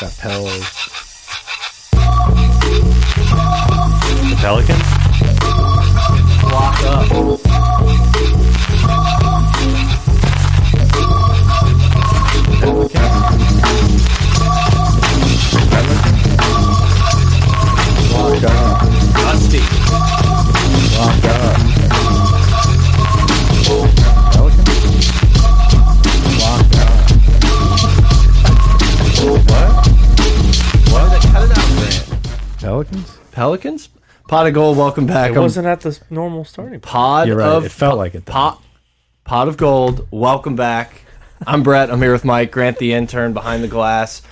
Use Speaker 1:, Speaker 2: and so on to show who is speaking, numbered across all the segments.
Speaker 1: That Pell.
Speaker 2: The Pelicans?
Speaker 3: Block up.
Speaker 4: Lock up.
Speaker 3: Dusty.
Speaker 4: Lock up. Pelican? Lock up.
Speaker 3: What? Why did they cut it out for that?
Speaker 4: Pelicans?
Speaker 3: Pelicans? Pot of gold, welcome back.
Speaker 1: It
Speaker 3: I'm-
Speaker 1: wasn't at the s- normal starting. point.
Speaker 3: Pod
Speaker 4: You're right,
Speaker 3: of
Speaker 4: it felt like it, though.
Speaker 3: Pot, pot of gold. Welcome back. I'm Brett. I'm here with Mike Grant, the intern behind the glass.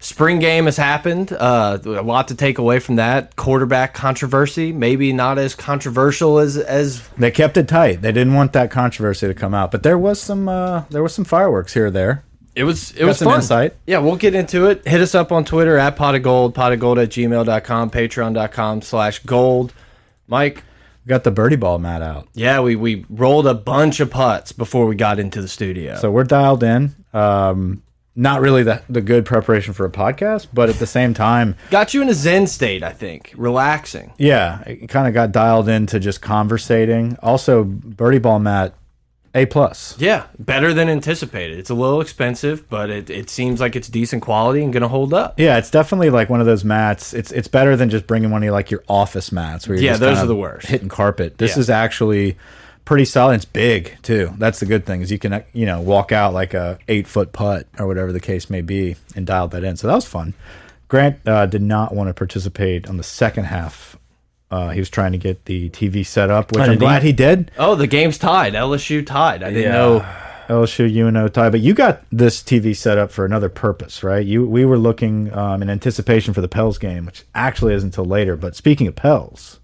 Speaker 3: Spring game has happened. Uh, a lot to take away from that. Quarterback controversy, maybe not as controversial as as
Speaker 4: They kept it tight. They didn't want that controversy to come out. But there was some uh, there was some fireworks here or there.
Speaker 3: It was it was
Speaker 4: some
Speaker 3: fun.
Speaker 4: insight.
Speaker 3: Yeah, we'll get into it. Hit us up on Twitter at pot of gold, pot of gold at gmail.com, patreon.com slash gold. Mike,
Speaker 4: We got the birdie ball mat out.
Speaker 3: yeah, we, we rolled a bunch of putts before we got into the studio.
Speaker 4: So we're dialed in. Um, not really the, the good preparation for a podcast, but at the same time,
Speaker 3: got you in a zen state, I think. Relaxing.
Speaker 4: yeah, it kind of got dialed into just conversating. Also, birdie ball mat, A plus.
Speaker 3: Yeah, better than anticipated. It's a little expensive, but it, it seems like it's decent quality and going to hold up.
Speaker 4: Yeah, it's definitely like one of those mats. It's it's better than just bringing one of your, like your office mats where you're
Speaker 3: Yeah,
Speaker 4: just
Speaker 3: those
Speaker 4: kinda
Speaker 3: are the worst.
Speaker 4: hitting carpet. This
Speaker 3: Yeah.
Speaker 4: is actually pretty solid. It's big too. That's the good thing is you can uh, you know walk out like a eight foot putt or whatever the case may be and dial that in. So that was fun. Grant uh, did not want to participate on the second half. Uh, he was trying to get the TV set up, which
Speaker 1: Oh,
Speaker 4: I'm
Speaker 1: did he?
Speaker 4: glad he did.
Speaker 3: Oh, the game's tied. LSU tied. I didn't
Speaker 1: Yeah.
Speaker 3: know.
Speaker 4: LSU UNO tie, but you got this TV set up for another purpose, right? You we were looking um, in anticipation for the Pels game, which actually isn't until later. But speaking of Pels,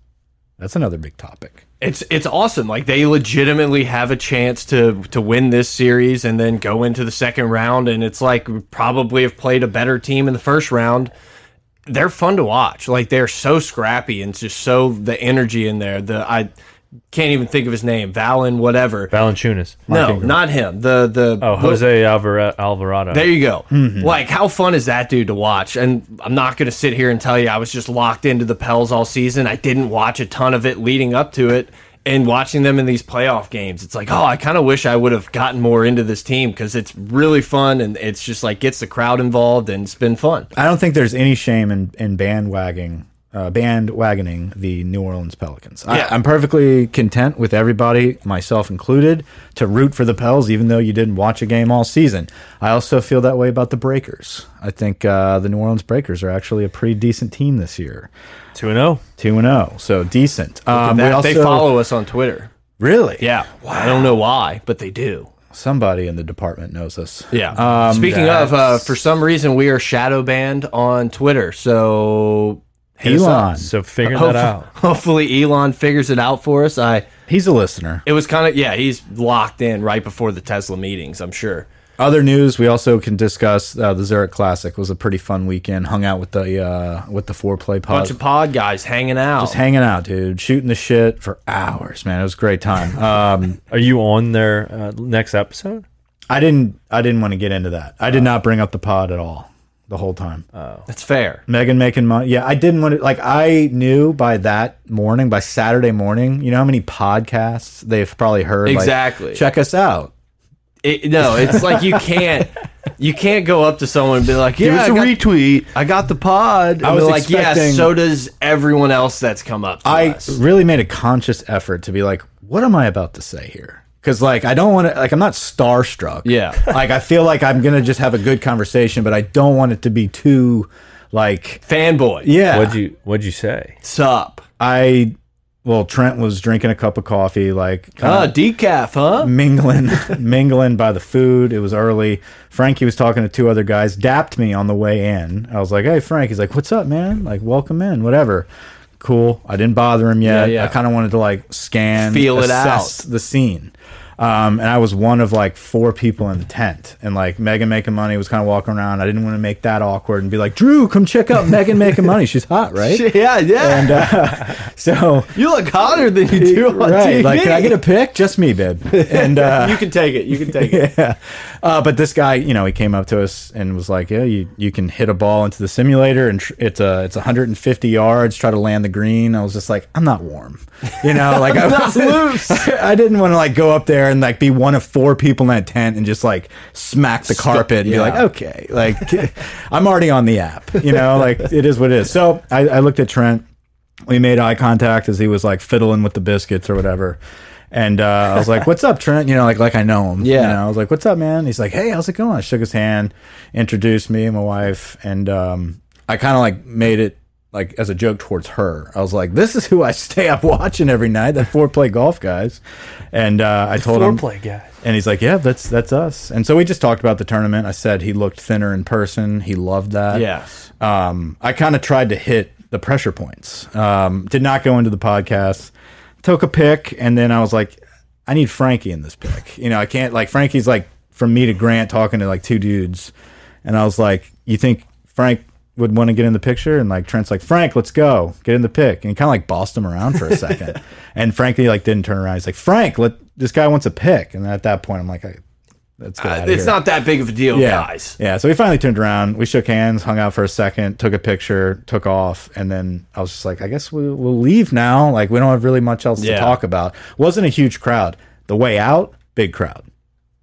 Speaker 4: that's another big topic.
Speaker 3: It's it's awesome. Like they legitimately have a chance to to win this series and then go into the second round and it's like we probably have played a better team in the first round. They're fun to watch. Like they're so scrappy and just so the energy in there. The I can't even think of his name. Valen whatever.
Speaker 2: Valanchunas.
Speaker 3: no, not him. The the
Speaker 2: Oh, Jose Alvara Alvarado.
Speaker 3: there you go.
Speaker 4: Mm-hmm.
Speaker 3: Like, how fun is that dude to watch? And I'm not going to sit here and tell you I was just locked into the Pels all season. I didn't watch a ton of it leading up to it. And watching them in these playoff games, it's like, oh, I kind of wish I would have gotten more into this team because it's really fun and it's just like gets the crowd involved and it's been fun.
Speaker 4: I don't think there's any shame in in bandwagoning uh, bandwagoning the New Orleans Pelicans.
Speaker 3: Yeah.
Speaker 4: I, I'm perfectly content with everybody, myself included, to root for the Pels, even though you didn't watch a game all season. I also feel that way about the Breakers. I think uh, the New Orleans Breakers are actually a pretty decent team this year.
Speaker 2: 2 0.
Speaker 4: Two and zero, so decent. Um, we
Speaker 3: That- they
Speaker 4: also-
Speaker 3: follow us on Twitter.
Speaker 4: really.
Speaker 3: Yeah. I don't know why, but they do.
Speaker 4: somebody in the department knows us.
Speaker 3: Yeah.
Speaker 4: Um,
Speaker 3: Speaking of, uh, for some reason, we are shadow banned on Twitter. So hit us up.
Speaker 4: Elon,
Speaker 2: So figure
Speaker 3: Hopef-
Speaker 2: that out.
Speaker 3: Hopefully, Elon figures it out for us. I
Speaker 4: he's a listener.
Speaker 3: it was kind of yeah, he's locked in right before the Tesla meetings. I'm sure.
Speaker 4: Other news we also can discuss. Uh, the Zurich Classic was a pretty fun weekend. Hung out with the uh, with the foreplay pod,
Speaker 3: Bunch of pod guys hanging out.
Speaker 4: just hanging out, dude, shooting the shit for hours, man. It was a great time. Um,
Speaker 2: Are you on their uh, next episode?
Speaker 4: I didn't I didn't want to get into that. I did
Speaker 3: Uh.
Speaker 4: not bring up the pod at all the whole time.
Speaker 3: That's fair.
Speaker 4: Megan making money. Yeah, I didn't want to. Like, I knew by that morning, by Saturday morning, you know how many podcasts they've probably heard. like,
Speaker 3: Exactly.
Speaker 4: Check us out.
Speaker 3: It, no, it's like you can't you can't go up to someone and be like, yeah, I got,
Speaker 2: retweet.
Speaker 3: I got the pod. And
Speaker 4: I was
Speaker 3: they're like, yeah,
Speaker 4: expecting-
Speaker 3: so does everyone else that's come up. To
Speaker 4: I
Speaker 3: us.
Speaker 4: really made a conscious effort to be like, what am I about to say here? Because like I don't want to like I'm not starstruck.
Speaker 3: Yeah.
Speaker 4: like I feel like I'm gonna just have a good conversation, but I don't want it to be too like
Speaker 3: fanboy.
Speaker 4: yeah.
Speaker 2: What'd you, what'd you say?
Speaker 3: sup?
Speaker 4: I well Trent was drinking a cup of coffee, like kinda
Speaker 3: Uh, decaf, huh?
Speaker 4: mingling mingling by the food. It was early. Frankie was talking to two other guys, dapped me on the way in. I was like, Hey Frank, he's like, What's up, man? Like, welcome in, whatever. Cool. I didn't bother him yet.
Speaker 3: Yeah, yeah.
Speaker 4: I kinda wanted to like scan
Speaker 3: Feel it
Speaker 4: assess the scene. Um, and I was one of like four people in the tent, and like Megan making money was kind of walking around. I didn't want to make that awkward and be like, "Drew, come check out Megan making money. She's hot, right?"
Speaker 3: Yeah, yeah.
Speaker 4: and uh, So
Speaker 3: You look hotter than you do on
Speaker 4: right,
Speaker 3: TV.
Speaker 4: like can I get a pic? Just me, babe. And uh,
Speaker 3: you can take it. You can take it.
Speaker 4: yeah. Uh, but this guy, you know, he came up to us and was like, "Yeah, you, you can hit a ball into the simulator, and tr it's a it's 150 yards. Try to land the green." I was just like, "I'm not warm," you know, like I was loose. I didn't want to like go up there and like be one of four people in that tent and just like smack the carpet and be
Speaker 3: yeah.
Speaker 4: like, "Okay, like I'm already on the app," you know, like it is what it is. So I, I looked at Trent we made eye contact as he was like fiddling with the biscuits or whatever. And uh, I was like, "What's up, Trent?" You know, like like I know him.
Speaker 3: Yeah.
Speaker 4: You know, I was like, "What's up, man?" He's like, "Hey, how's it going?" I shook his hand, introduced me and my wife, and um, I kind of like made it like as a joke towards her. I was like, "This is who I stay up watching every night, the four play golf guys." And uh, I told him,
Speaker 2: Foreplay guy.
Speaker 4: and he's like, "Yeah, that's that's us." And so we just talked about the tournament. I said he looked thinner in person. He loved that
Speaker 3: Yes.
Speaker 4: um, I kind of tried to hit the pressure points. Um, did not go into the podcast. Took a pick, and then I was like, I need Frankie in this pick. You know, I can't like Frankie's like from me to Grant talking to like two dudes, and I was like, you think Frank would want to get in the picture? And like Trent's like, Frank, let's go, get in the pick, and he kind of like bossed him around for a second, and Frankie like didn't turn around. He's like, Frank, let this guy wants a pick, and at that point, I'm like, I, let's get out of here.
Speaker 3: Uh, It's not that big of a deal,
Speaker 4: Yeah.
Speaker 3: guys.
Speaker 4: Yeah. So we finally turned around. We shook hands, hung out for a second, took a picture, took off, and then I was just like, I guess we, we'll leave now. Like we don't have really much else
Speaker 3: Yeah.
Speaker 4: to talk about. Wasn't a huge crowd. The way out, big crowd.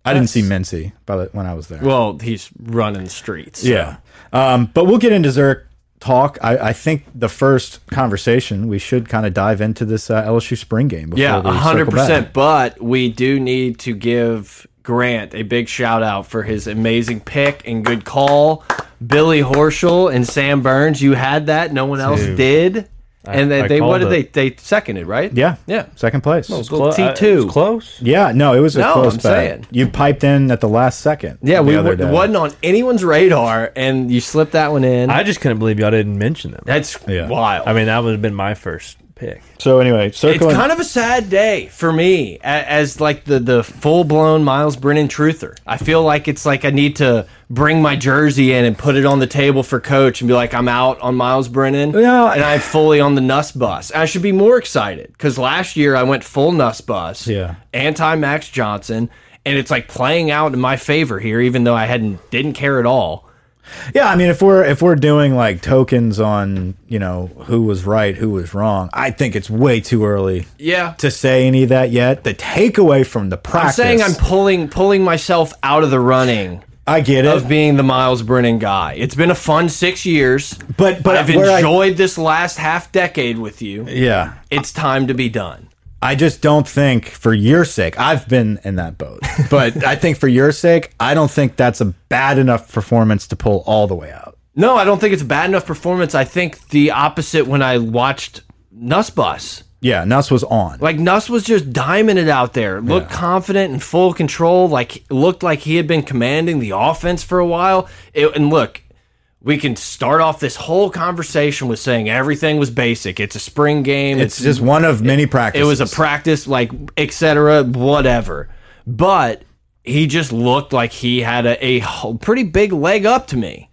Speaker 4: I didn't see Mincy by the, when I was there.
Speaker 3: Well, he's running the streets.
Speaker 4: yeah. Um, but we'll get into Zerk talk. I, I think the first conversation we should kind of dive into this uh, LSU spring game. Before
Speaker 3: Yeah,
Speaker 4: we
Speaker 3: a hundred
Speaker 4: circle back.
Speaker 3: percent. But we do need to give Grant a big shout out for his amazing pick and good call. Billy Horschel and Sam Burns, you had that. No one else
Speaker 2: Dude.
Speaker 3: did. and they,
Speaker 2: I
Speaker 3: they what
Speaker 2: called
Speaker 3: did they they seconded right?
Speaker 4: Yeah.
Speaker 3: yeah.
Speaker 4: Second place.
Speaker 3: Little
Speaker 2: Clo-
Speaker 3: T
Speaker 2: uh,
Speaker 3: two.
Speaker 2: it's close.
Speaker 4: yeah. No, it was a
Speaker 3: No,
Speaker 4: close
Speaker 3: I'm
Speaker 4: bet.
Speaker 3: saying.
Speaker 4: You piped in at the last second.
Speaker 3: yeah,
Speaker 4: the
Speaker 3: we
Speaker 4: other
Speaker 3: were,
Speaker 4: day.
Speaker 3: wasn't on anyone's radar, and you slipped that one in.
Speaker 2: I just couldn't believe y'all didn't mention them.
Speaker 3: That's
Speaker 4: Yeah.
Speaker 3: wild.
Speaker 2: I mean, that would have been my first pick.
Speaker 4: So anyway, circling.
Speaker 3: it's kind of a sad day for me a- as like the the full blown Miles Brennan truther. I feel like it's like I need to bring my jersey in and put it on the table for coach and be like I'm out on Miles Brennan
Speaker 4: Yeah.
Speaker 3: and I'm fully on the Nuss bus. I should be more excited cuz last year I went full Nuss bus.
Speaker 4: Yeah.
Speaker 3: Anti Max Johnson and it's like playing out in my favor here even though I hadn't didn't care at all.
Speaker 4: yeah, I mean, if we're if we're doing like tokens on you know who was right, who was wrong, I think it's way too early
Speaker 3: Yeah.
Speaker 4: to say any of that yet. The takeaway from the
Speaker 3: I'm
Speaker 4: practice,
Speaker 3: saying I'm pulling pulling myself out of the running.
Speaker 4: I get
Speaker 3: of
Speaker 4: it,
Speaker 3: being the Miles Brennan guy. It's been a fun six years,
Speaker 4: but but
Speaker 3: I've
Speaker 4: where I-
Speaker 3: enjoyed this last half decade with you.
Speaker 4: yeah,
Speaker 3: It's time to be done.
Speaker 4: I just don't think for your sake. I've been in that boat, but I think for your sake, I don't think that's a bad enough performance to pull all the way out.
Speaker 3: No, I don't think it's a bad enough performance. I think the opposite when I watched Nuss Bus.
Speaker 4: Yeah, Nuss was on.
Speaker 3: Like Nuss was just diming it out there. Looked confident and full control. Like looked like he had been commanding the offense for a while. It, and look, we can start off this whole conversation with saying everything was basic. It's a spring game.
Speaker 4: it's just one of many practices.
Speaker 3: it was a practice like etc whatever but he just looked like he had a, a h- pretty big leg up to me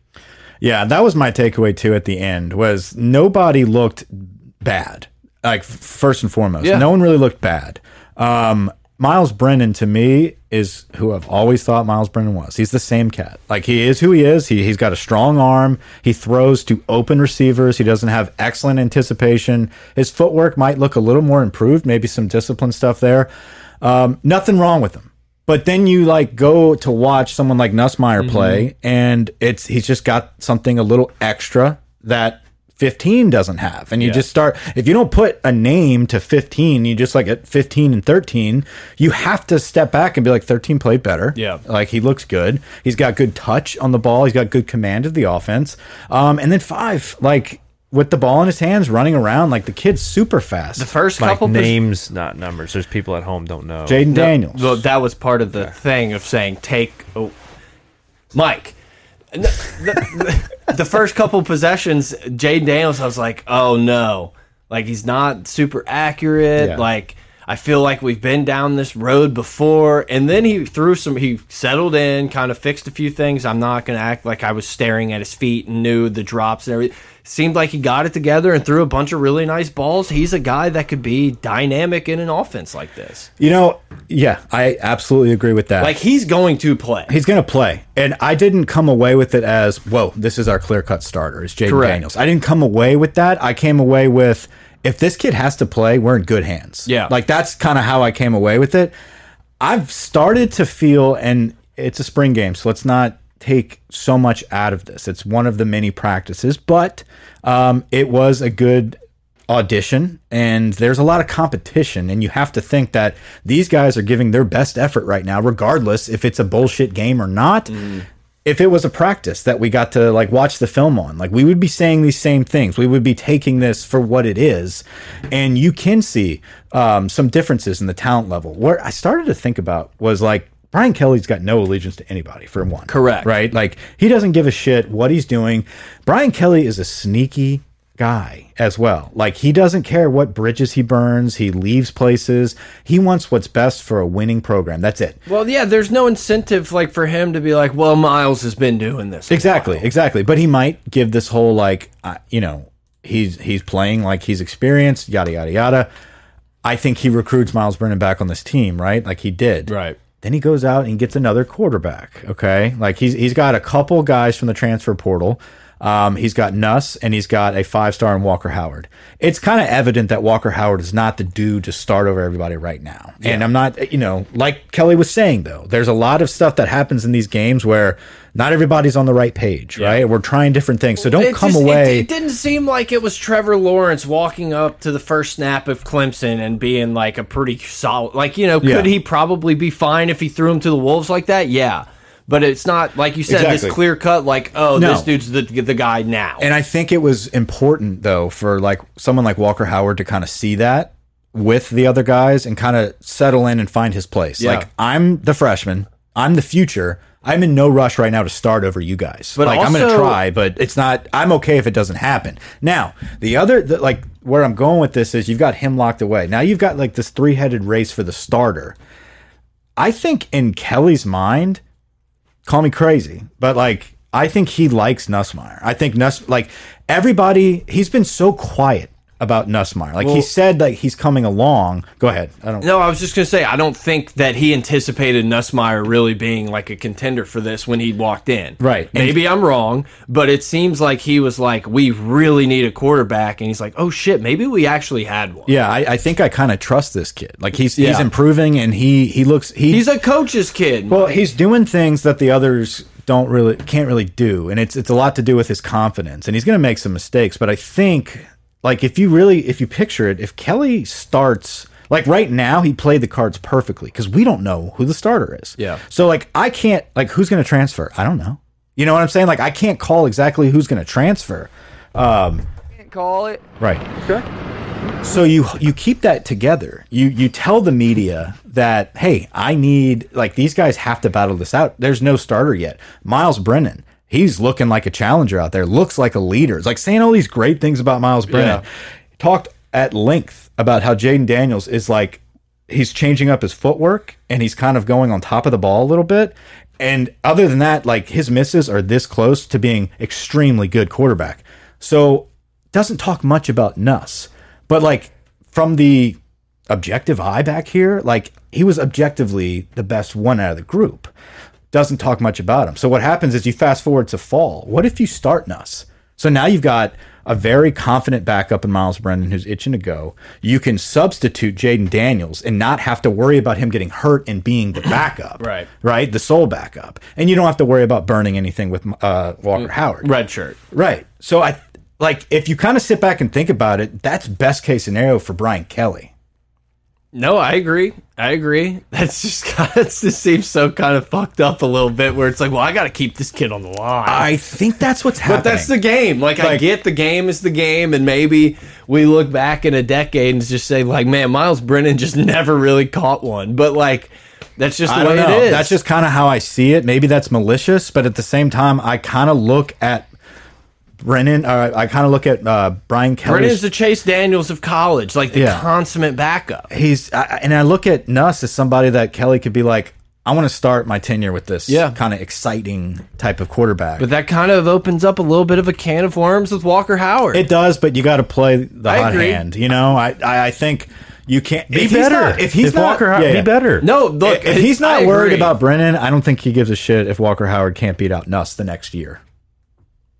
Speaker 4: Yeah, that was my takeaway too at the end was nobody looked bad. Like f- first and foremost,
Speaker 3: Yeah.
Speaker 4: no one really looked bad. Um, Miles Brennan to me is who I've always thought Miles Brennan was. He's the same cat. Like he is who he is. He he's got a strong arm. He throws to open receivers. He doesn't have excellent anticipation. His footwork might look a little more improved, maybe some discipline stuff there. Um, nothing wrong with him. But then you like go to watch someone like Nussmeyer
Speaker 3: Mm-hmm.
Speaker 4: play, and it's he's just got something a little extra that 15 doesn't have. And you just start if you don't put a name to 15, you just like at 15 and 13, you have to step back and be like 13 played better.
Speaker 3: Yeah.
Speaker 4: Like he looks good. He's got good touch on the ball. He's got good command of the offense. Um, and then five, like with the ball in his hands, running around, like the kid's super fast.
Speaker 3: first
Speaker 2: Like
Speaker 3: couple pos-
Speaker 2: names, not numbers. There's people at home don't know.
Speaker 4: Jaden
Speaker 3: No,
Speaker 4: Daniels.
Speaker 3: well that was part of the thing of saying take oh, mike N- the, the- the first couple possessions Jaden daniels i was like oh no like he's not super accurate
Speaker 4: Yeah.
Speaker 3: like I feel like we've been down this road before. And then he threw some, he settled in, kind of fixed a few things. I'm not going to act like I was staring at his feet and knew the drops and everything. Seemed like he got it together and threw a bunch of really nice balls. He's a guy that could be dynamic in an offense like this.
Speaker 4: You know, yeah, I absolutely agree with that.
Speaker 3: Like, he's going to play.
Speaker 4: He's going to play. And I didn't come away with it as, whoa, this is our clear cut starter. It's Jaden
Speaker 3: Correct.
Speaker 4: Daniels. I didn't come away with that. I came away with, if this kid has to play, we're in good hands.
Speaker 3: Yeah.
Speaker 4: Like that's kind of how I came away with it. I've started to feel, and it's a spring game, so let's not take so much out of this. It's one of the many practices, but um, it was a good audition, and there's a lot of competition, and you have to think that these guys are giving their best effort right now, regardless if it's a bullshit game or not. If it was a practice that we got to like watch the film on, like we would be saying these same things. We would be taking this for what it is. And you can see um, some differences in the talent level. What I started to think about was like Brian Kelly's got no allegiance to anybody for one.
Speaker 3: Correct.
Speaker 4: Right? Like he doesn't give a shit what he's doing. Brian Kelly is a sneaky guy as well. Like he doesn't care what bridges he burns, he leaves places. He wants what's best for a winning program. That's it.
Speaker 3: Well, yeah, there's no incentive like for him to be like, well, Miles has been doing this.
Speaker 4: Exactly, exactly. But he might give this whole like, uh, you know, he's he's playing like he's experienced, yada yada yada. I think he recruits Miles Brennan back on this team, right? Like he did,
Speaker 3: Right.
Speaker 4: Then he goes out and gets another quarterback. Okay, like he's he's got a couple guys from the transfer portal. Um, he's got Nuss and he's got a five star in Walker Howard. It's kind of evident that Walker Howard is not the dude to start over everybody right now. And I'm not, you know, like Kelly was saying though, there's a lot of stuff that happens in these games where not everybody's on the right page, right? We're trying different things, so don't
Speaker 3: It
Speaker 4: come
Speaker 3: just- it-
Speaker 4: away.
Speaker 3: It, didn't seem like it was Trevor Lawrence walking up to the first snap of Clemson and being like a pretty solid. Like you know, could
Speaker 4: Yeah.
Speaker 3: he probably be fine if he threw him to the wolves like that? Yeah, but it's not like you said
Speaker 4: Exactly.
Speaker 3: this clear cut. Like oh,
Speaker 4: No.
Speaker 3: this dude's the the guy now.
Speaker 4: And I think it was important though for like someone like Walker Howard to kind of see that with the other guys and kind of settle in and find his place.
Speaker 3: Yeah.
Speaker 4: Like I'm the freshman, I'm the future. I'm in no rush right now to start over you guys. But like I'm going to
Speaker 3: also-
Speaker 4: try, but it's not. I'm okay if it doesn't happen. Now the other, the, like where I'm going with this is you've got him locked away. Now you've got like this three headed race for the starter. I think in Kelly's mind, call me crazy, but like I think he likes Nussmeyer. I think Nuss like everybody he's been so quiet about Nussmeyer. Like he said like he's coming along. Go ahead. I don't
Speaker 3: no, I was just gonna say I don't think that he anticipated Nussmeyer really being like a contender for this when he walked in.
Speaker 4: Right.
Speaker 3: Maybe I'm wrong, but it seems like he was like, "We really need a quarterback," and he's like, "Oh shit, maybe we actually had one."
Speaker 4: yeah, I, I think I kind of trust this kid. Like he's he's
Speaker 3: Yeah.
Speaker 4: improving and he he looks he,
Speaker 3: He's a coach's kid.
Speaker 4: well he's doing things that the others don't really can't really do, and it's it's a lot to do with his confidence. And he's going to make some mistakes, but I think like if you really if you picture it, if Kelly starts like right now, he played the cards perfectly because we don't know who the starter is.
Speaker 3: Yeah.
Speaker 4: So like I can't like who's going to transfer? I don't know. You know what I'm saying? Like I can't call exactly who's going to transfer. Um,
Speaker 1: call it.
Speaker 4: Right. So you you keep that together. You you tell the media that hey, I need like these guys have to battle this out. There's no starter yet. Miles Brennan, he's looking like a challenger out there. Looks like a leader. It's like saying all these great things about Miles Brennan. Talked at length about how Jaden Daniels is like he's changing up his footwork and he's kind of going on top of the ball a little bit. And other than that, like his misses are this close to being extremely good quarterback. So doesn't talk much about Nuss, but like from the objective eye back here, like he was objectively the best one out of the group. Doesn't talk much about him. So what happens is you fast forward to fall. What if you start Nuss? So now you've got a very confident backup in Miles Brennan who's itching to go. You can substitute Jaden Daniels and not have to worry about him getting hurt and being the backup.
Speaker 3: Right.
Speaker 4: Right? The sole backup. And you don't have to worry about burning anything with uh, Walker Howard.
Speaker 3: red shirt.
Speaker 4: Right. So I like if you kind of sit back and think about it, that's best case scenario for Brian Kelly.
Speaker 3: No, I agree. I agree. That's just kind of, this seems so kind of fucked up a little bit where it's like, well, I got to keep this kid on the line.
Speaker 4: I think that's what's happening.
Speaker 3: but that's the game. Like, I
Speaker 4: Like-
Speaker 3: get the game is the game, and maybe we look back in a decade and just say, like, man, Miles Brennan just never really caught one. But like, that's just the
Speaker 4: I
Speaker 3: way
Speaker 4: don't know.
Speaker 3: it is.
Speaker 4: That's just kind of how I see it. Maybe that's malicious, but at the same time, I kind of look at Brennan. Uh, I kind of look at uh, Brian Kelly.
Speaker 3: Brennan's the Chase Daniels of college, like the
Speaker 4: Yeah.
Speaker 3: consummate backup.
Speaker 4: he's I, I- and I look at Nuss as somebody that Kelly could be like, I want to start my tenure with this
Speaker 3: Yeah.
Speaker 4: kind of exciting type of quarterback.
Speaker 3: But that kind of opens up a little bit of a can of worms with Walker Howard.
Speaker 4: it does, but you got to play the
Speaker 3: I
Speaker 4: hot
Speaker 3: agree.
Speaker 4: hand. You know, I I, I think you can't
Speaker 2: Be
Speaker 4: if he's
Speaker 2: better.
Speaker 4: not- if he's
Speaker 2: if
Speaker 4: not,
Speaker 2: Walker, Howard-
Speaker 4: yeah, yeah.
Speaker 2: be better.
Speaker 3: no, look,
Speaker 4: if he's
Speaker 3: I
Speaker 4: not
Speaker 3: agree.
Speaker 4: worried about Brennan, I don't think he gives a shit if Walker Howard can't beat out Nuss the next year.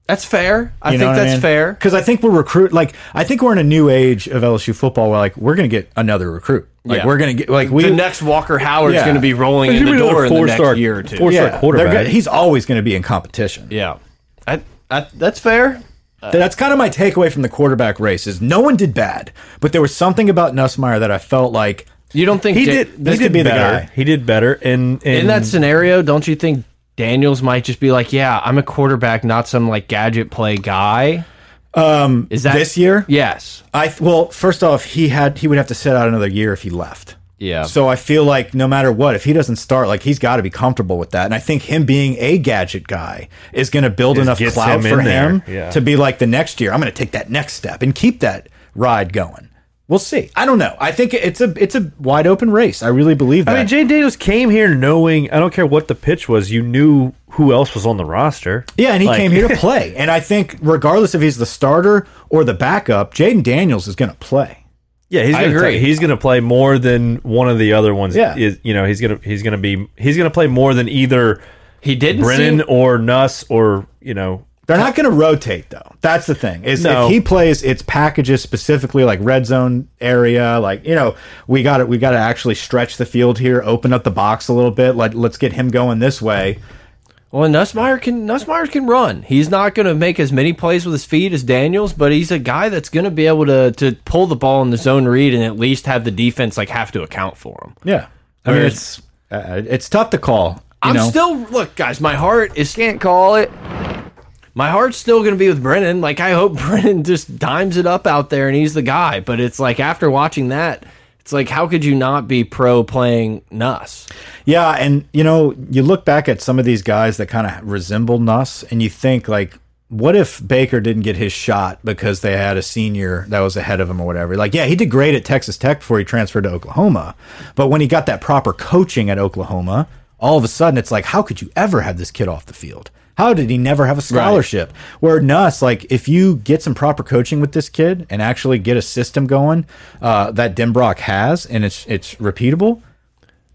Speaker 3: that's fair. I
Speaker 4: You know
Speaker 3: think
Speaker 4: what
Speaker 3: that's fair.
Speaker 4: Because I think we're recruit like I think we're in a new age of LSU football where like we're gonna get another recruit. Like
Speaker 3: Yeah.
Speaker 4: we're gonna get like we
Speaker 3: the next Walker Howard's
Speaker 4: Yeah.
Speaker 3: going to be rolling in
Speaker 2: He's
Speaker 3: the
Speaker 2: gonna be
Speaker 3: door in the
Speaker 2: four-star-
Speaker 3: next year or two.
Speaker 2: four-
Speaker 4: yeah,
Speaker 2: for a
Speaker 4: they're
Speaker 2: quarterback.
Speaker 4: gonna- he's always gonna be in competition.
Speaker 3: yeah, I, I, that's fair.
Speaker 4: That's kind of my takeaway from the quarterback race is no one did bad, but there was something about Nussmeyer that I felt like
Speaker 3: You don't think
Speaker 4: He
Speaker 3: Da-
Speaker 4: did-
Speaker 3: this
Speaker 4: he did
Speaker 3: could be
Speaker 4: better.
Speaker 3: better.
Speaker 2: He did better, and, and
Speaker 3: in that scenario? Don't you think Daniels might just be like, "Yeah, I'm a quarterback, not some like gadget play guy." Um, is that
Speaker 4: this year.
Speaker 3: Yes.
Speaker 4: I well, first off, he had he would have to sit out another year if he left.
Speaker 3: Yeah.
Speaker 4: So I feel like no matter what, if he doesn't start, like he's got to be comfortable with that. And I think him being a gadget guy is going to build enough
Speaker 2: gets
Speaker 4: clout
Speaker 2: him
Speaker 4: for
Speaker 2: in there.
Speaker 4: him
Speaker 2: Yeah.
Speaker 4: to be like the next year. I'm going to take that next step and keep that ride going. We'll see. I don't know. I think it's a it's a wide open race. I really believe that.
Speaker 2: I mean, Jay Daniels came here knowing I don't care what the pitch was. You knew who else was on the roster.
Speaker 4: Yeah, and he
Speaker 2: Like,
Speaker 4: came here to play. And I think, regardless if he's the starter or the backup, Jaden Daniels is going to play.
Speaker 2: Yeah, he's
Speaker 3: I
Speaker 2: gonna
Speaker 3: agree.
Speaker 2: play- he's going to play more than one of the other ones.
Speaker 4: Yeah.
Speaker 2: is, you know he's gonna he's gonna be he's gonna play more than either
Speaker 3: He didn't
Speaker 2: Brennan
Speaker 3: seem-
Speaker 2: or Nuss or you know
Speaker 4: They're not going to rotate, though. That's the thing. Is
Speaker 2: No.
Speaker 4: if he plays, it's packages specifically like red zone area. Like you know, we got it. We got to actually stretch the field here, open up the box a little bit. Like let's get him going this way.
Speaker 3: Well, Nussmeyer can Nussmeyer can run. He's not going to make as many plays with his feet as Daniels, but he's a guy that's going to be able to to pull the ball in the zone read and at least have the defense like have to account for him.
Speaker 4: Yeah, I mean
Speaker 3: Whereas-
Speaker 4: it's uh, it's tough to call. You
Speaker 3: I'm
Speaker 4: know?
Speaker 3: still look, guys. My heart is
Speaker 1: Can't call it.
Speaker 3: my heart's still going to be with Brennan. Like I hope Brennan just dimes it up out there and he's the guy. But it's like after watching that, it's like how could you not be pro playing Nuss?
Speaker 4: Yeah, and you know, you look back at some of these guys that kind of resemble Nuss, and you think like, what if Baker didn't get his shot because they had a senior that was ahead of him or whatever? Like, yeah, he did great at Texas Tech before he transferred to Oklahoma, but when he got that proper coaching at Oklahoma, all of a sudden it's like, how could you ever have this kid off the field? How did he never have a scholarship? Where Nuss, like, if you get some proper coaching with this kid and actually get a system going uh, that Dimbrock has, and it's it's repeatable,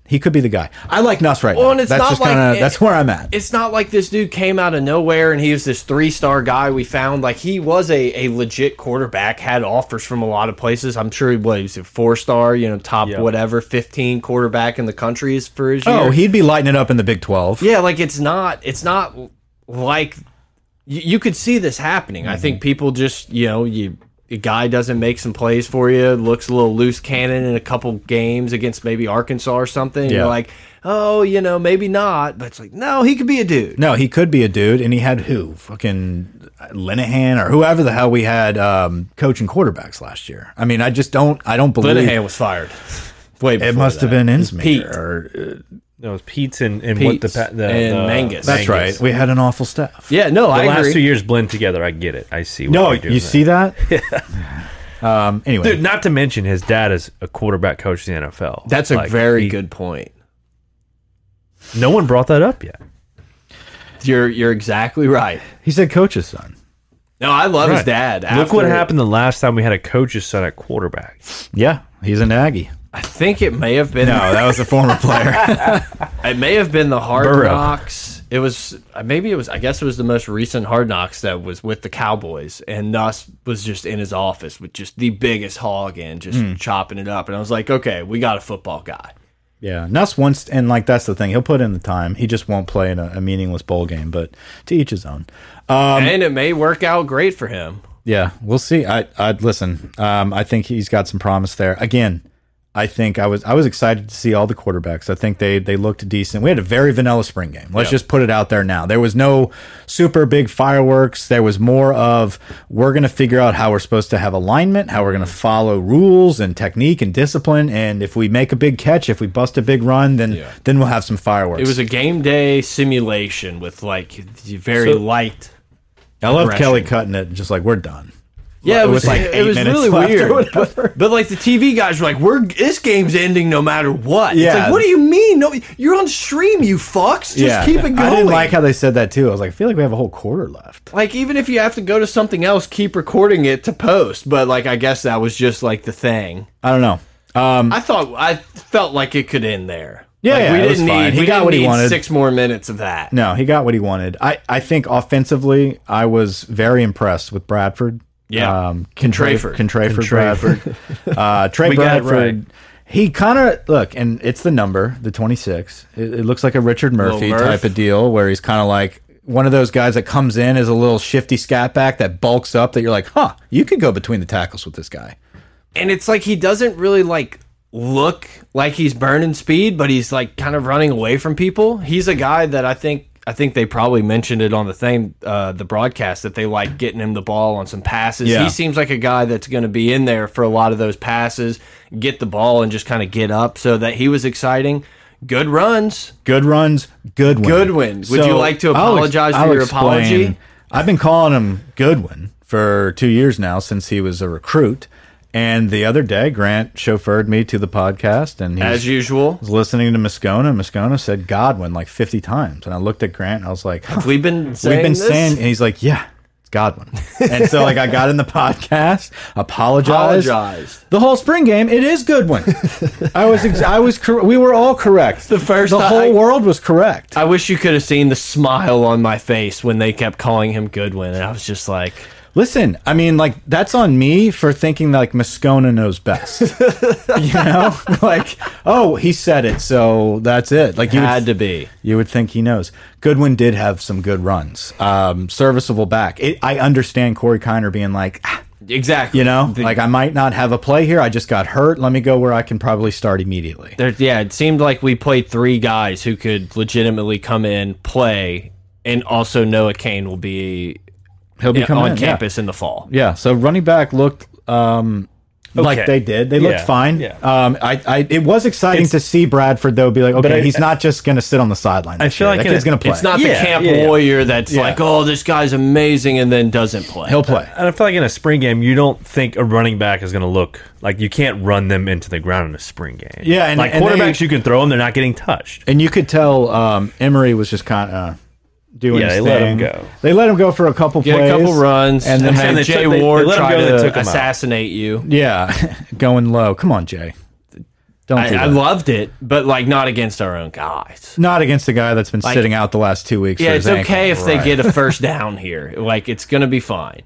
Speaker 4: he could be the guy. I like Nuss right
Speaker 3: Well,
Speaker 4: now.
Speaker 3: and it's
Speaker 4: that's
Speaker 3: not
Speaker 4: just
Speaker 3: like
Speaker 4: kinda,
Speaker 3: it-
Speaker 4: that's where I'm at.
Speaker 3: it's not like this dude came out of nowhere and he was this three star guy we found. Like he was a, a legit quarterback, had offers from a lot of places. I'm sure he was, he was a four star, you know, top whatever, 15 quarterback in the country is for his year.
Speaker 4: Oh, he'd be lighting it up in the Big Twelve.
Speaker 3: yeah, like it's not, it's not like you, you could see this happening. I
Speaker 2: Mm-hmm.
Speaker 3: think people just, you know, you. A guy doesn't make some plays for you, looks a little loose cannon in a couple games against maybe Arkansas or something. You're
Speaker 4: Yeah.
Speaker 3: like, oh, you know, maybe not. But it's like, no, he could be a dude.
Speaker 4: No, he could be a dude, and he had who? Fucking uh, Linehan or whoever the hell we had um, coaching quarterbacks last year. I mean, I just don't. I don't believe
Speaker 3: Linehan was fired. Wait,
Speaker 4: it must have been Insmeer.
Speaker 3: Pete.
Speaker 4: or-
Speaker 2: no, it was Pete's and, and what the,
Speaker 3: Pete's
Speaker 2: pa- the
Speaker 3: and
Speaker 2: the-
Speaker 3: Mangus.
Speaker 4: that's right. We had an awful staff.
Speaker 3: Yeah, no,
Speaker 2: The
Speaker 3: I
Speaker 2: last
Speaker 3: agree.
Speaker 2: two years blend together. I get it. I see. What
Speaker 4: No,
Speaker 2: you're doing
Speaker 4: you
Speaker 2: there.
Speaker 4: see that? um. Anyway,
Speaker 2: Dude, not to mention his dad is a quarterback coach in the NFL.
Speaker 3: That's a
Speaker 2: Like,
Speaker 3: very good point.
Speaker 2: No one brought that up yet.
Speaker 3: You're you're exactly right.
Speaker 4: he said coach's son.
Speaker 3: No, I love his
Speaker 2: Right.
Speaker 3: dad.
Speaker 2: Look what
Speaker 3: After-
Speaker 2: happened the last time we had a coach's son at quarterback.
Speaker 4: Yeah, he's an Aggie.
Speaker 3: I think it may have been.
Speaker 4: No, that was a former player.
Speaker 3: It may have been the Hard
Speaker 2: Burrow.
Speaker 3: Knocks. It was uh, maybe it was. I guess it was the most recent Hard Knocks that was with the Cowboys, and Nuss was just in his office with just the biggest hog and just
Speaker 4: Hmm.
Speaker 3: chopping it up. And I was like, okay, we got a football guy.
Speaker 4: Yeah, Nuss wants, and like that's the thing. He'll put in the time. He just won't play in a, a meaningless bowl game. But to each his own. Um,
Speaker 3: and it may work out great for him.
Speaker 4: Yeah, we'll see. I, I listen. Um, I think he's got some promise there. Again, I think I was I was excited to see all the quarterbacks. I think they they looked decent. We had a very vanilla spring game. Let's just put it out there now. There was no super big fireworks. There was more of we're going to figure out how we're supposed to have alignment, how we're going to follow rules and technique and discipline. And if we make a big catch, if we bust a big run, then then we'll have some fireworks.
Speaker 3: It was a game day simulation with like very light.
Speaker 4: I love
Speaker 3: Aggression.
Speaker 4: Kelly cutting it, and just like we're done.
Speaker 3: Yeah, it
Speaker 4: With,
Speaker 3: was
Speaker 4: like,
Speaker 3: like it
Speaker 4: eight
Speaker 3: was
Speaker 4: minutes
Speaker 3: really
Speaker 4: left or
Speaker 3: weird.
Speaker 4: whatever.
Speaker 3: But, but, like the TV guys were like, "We're this game's ending no matter what." It's
Speaker 4: Yeah.
Speaker 3: like, what do you mean? No, you're on stream, you fucks. Just keep it going.
Speaker 4: I didn't like how they said that too. I was like, I feel like we have a whole quarter left.
Speaker 3: Like, even if you have to go to something else, keep recording it to post. But like, I guess that was just like the thing. Um,
Speaker 4: I don't know.
Speaker 3: I thought I felt like it could end there.
Speaker 4: Yeah,
Speaker 3: Like,
Speaker 4: yeah,
Speaker 3: we
Speaker 4: it was
Speaker 3: didn't
Speaker 4: fine.
Speaker 3: need.
Speaker 4: He
Speaker 3: we
Speaker 4: got
Speaker 3: didn't
Speaker 4: what he
Speaker 3: need
Speaker 4: wanted.
Speaker 3: Six more minutes of that.
Speaker 4: No, he got what he wanted. I, I think offensively, I was very impressed with Bradford.
Speaker 3: Yeah.
Speaker 4: Um, Contra-
Speaker 3: Contraford.
Speaker 4: Contraford Bradford. uh, Trey
Speaker 2: We got it
Speaker 4: Bradford. He kind of, look, and it's the number, the 26. It, it looks like a Richard Murphy
Speaker 3: Murph.
Speaker 4: type of deal where he's kind of like one of those guys that comes in as a little shifty scat back that bulks up that you're like, huh, you could go between the tackles with this guy.
Speaker 3: and it's like he doesn't really like look like he's burning speed, but he's like kind of running away from people. He's a guy that I think I think they probably mentioned it on the thing, uh, the broadcast that they like getting him the ball on some passes.
Speaker 4: Yeah.
Speaker 3: He seems like a guy that's going to be in there for a lot of those passes, get the ball and just kind of get up. So that he was exciting. Good runs.
Speaker 4: Good runs, Goodwin.
Speaker 3: Goodwin. Would you like to
Speaker 4: I'll ex-
Speaker 3: apologize for
Speaker 4: I'll
Speaker 3: your apology?
Speaker 4: I've been calling him Goodwin for two years now since he was a recruit. And the other day, Grant chauffeured me to the podcast, and he
Speaker 3: As
Speaker 4: was,
Speaker 3: usual,
Speaker 4: was listening to Moscona. and Moscona said Godwin like 50 times. And I looked at Grant, and I was like, huh,
Speaker 3: we've been saying
Speaker 4: we've been
Speaker 3: this?
Speaker 4: saying, and he's like, yeah, it's Godwin. and so, like, I got in the podcast, apologized.
Speaker 3: Apologized.
Speaker 4: The whole spring game, it is Goodwin. I was, ex I was, cor we were all correct. The
Speaker 3: first
Speaker 4: the
Speaker 3: time-
Speaker 4: whole world was correct.
Speaker 3: I wish you could have seen the smile on my face when they kept calling him Goodwin, and I was just like,
Speaker 4: Listen, I mean, like that's on me for thinking like Moscona knows best. you know, like oh, he said it, so that's it. Like you
Speaker 3: had
Speaker 4: would,
Speaker 3: to be.
Speaker 4: you would think he knows. Goodwin did have some good runs, um, serviceable back. It, I understand Corey Kiner being like, "Ah,"
Speaker 3: Exactly.
Speaker 4: you know,
Speaker 3: The-
Speaker 4: like I might not have a play here. I just got hurt. Let me go where I can probably start immediately.
Speaker 3: there, yeah, it seemed like we played three guys who could legitimately come in, play, and also Noah Kane will be
Speaker 4: He'll be coming
Speaker 3: on
Speaker 4: in, yeah.
Speaker 3: campus in the fall.
Speaker 4: Yeah, so running back looked um, like
Speaker 2: Okay.
Speaker 4: they did. They looked
Speaker 2: Yeah,
Speaker 4: fine.
Speaker 2: yeah.
Speaker 4: Um, I, I, it was exciting to see Bradford though. Be like, okay,
Speaker 2: I-
Speaker 4: he's not just going to sit on the sideline. I
Speaker 2: feel like
Speaker 4: that
Speaker 2: in
Speaker 4: kid's
Speaker 2: a-
Speaker 4: going to play.
Speaker 3: It's not
Speaker 2: Yeah,
Speaker 3: the camp
Speaker 2: yeah, yeah.
Speaker 3: warrior that's like, oh, this guy's amazing, and then doesn't play.
Speaker 4: He'll play.
Speaker 2: And I feel like in a spring game, you don't think a running back is going to look like you can't run them into the ground in a spring game.
Speaker 4: Yeah, and-
Speaker 2: like
Speaker 4: and they-
Speaker 2: quarterbacks, you can throw them; they're not getting touched.
Speaker 4: And you could tell um, Emery was just kind of doing.
Speaker 2: Yeah,
Speaker 4: his
Speaker 2: they let
Speaker 4: thing.
Speaker 2: him go.
Speaker 4: They let him go for a couple
Speaker 3: Get
Speaker 4: plays,
Speaker 3: a couple runs,
Speaker 4: and then
Speaker 2: then they
Speaker 3: Jay
Speaker 2: took- they- they
Speaker 3: Ward
Speaker 2: let him
Speaker 3: try
Speaker 2: go, they took
Speaker 3: to
Speaker 2: him out.
Speaker 3: assassinate you.
Speaker 4: yeah, going low. Come on, Jay. Don't do
Speaker 3: I, I
Speaker 4: that.
Speaker 3: loved it, but like not against our own guys.
Speaker 4: not against the guy that's been sitting out the last two weeks.
Speaker 3: Yeah,
Speaker 4: for
Speaker 3: it's
Speaker 4: his ankle.
Speaker 3: okay if
Speaker 4: Right.
Speaker 3: they get a first down here. Like it's gonna be fine.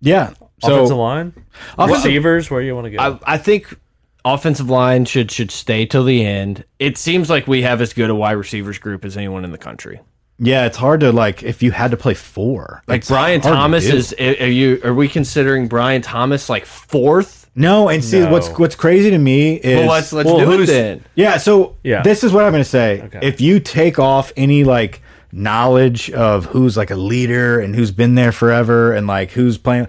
Speaker 4: Yeah.
Speaker 2: Offensive
Speaker 4: So
Speaker 2: line,
Speaker 4: Offensive-
Speaker 2: receivers, where you want to go?
Speaker 3: I, I think offensive line should should stay till the end. It seems like we have as good a wide receivers group as anyone in the country.
Speaker 4: yeah, it's hard to like if you had to play four.
Speaker 3: Like
Speaker 4: it's
Speaker 3: Brian
Speaker 4: hard to
Speaker 3: Thomas
Speaker 4: do.
Speaker 3: is. Are you? Are we considering Brian Thomas like fourth?
Speaker 4: No, and see
Speaker 2: No.
Speaker 4: what's what's crazy to me is
Speaker 3: Well, let's let's
Speaker 2: well,
Speaker 3: do it
Speaker 2: who's-
Speaker 3: then.
Speaker 4: yeah. So
Speaker 2: Yeah.
Speaker 4: this is what I'm going to say. If you take off any like knowledge of who's like a leader and who's been there forever and like who's playing,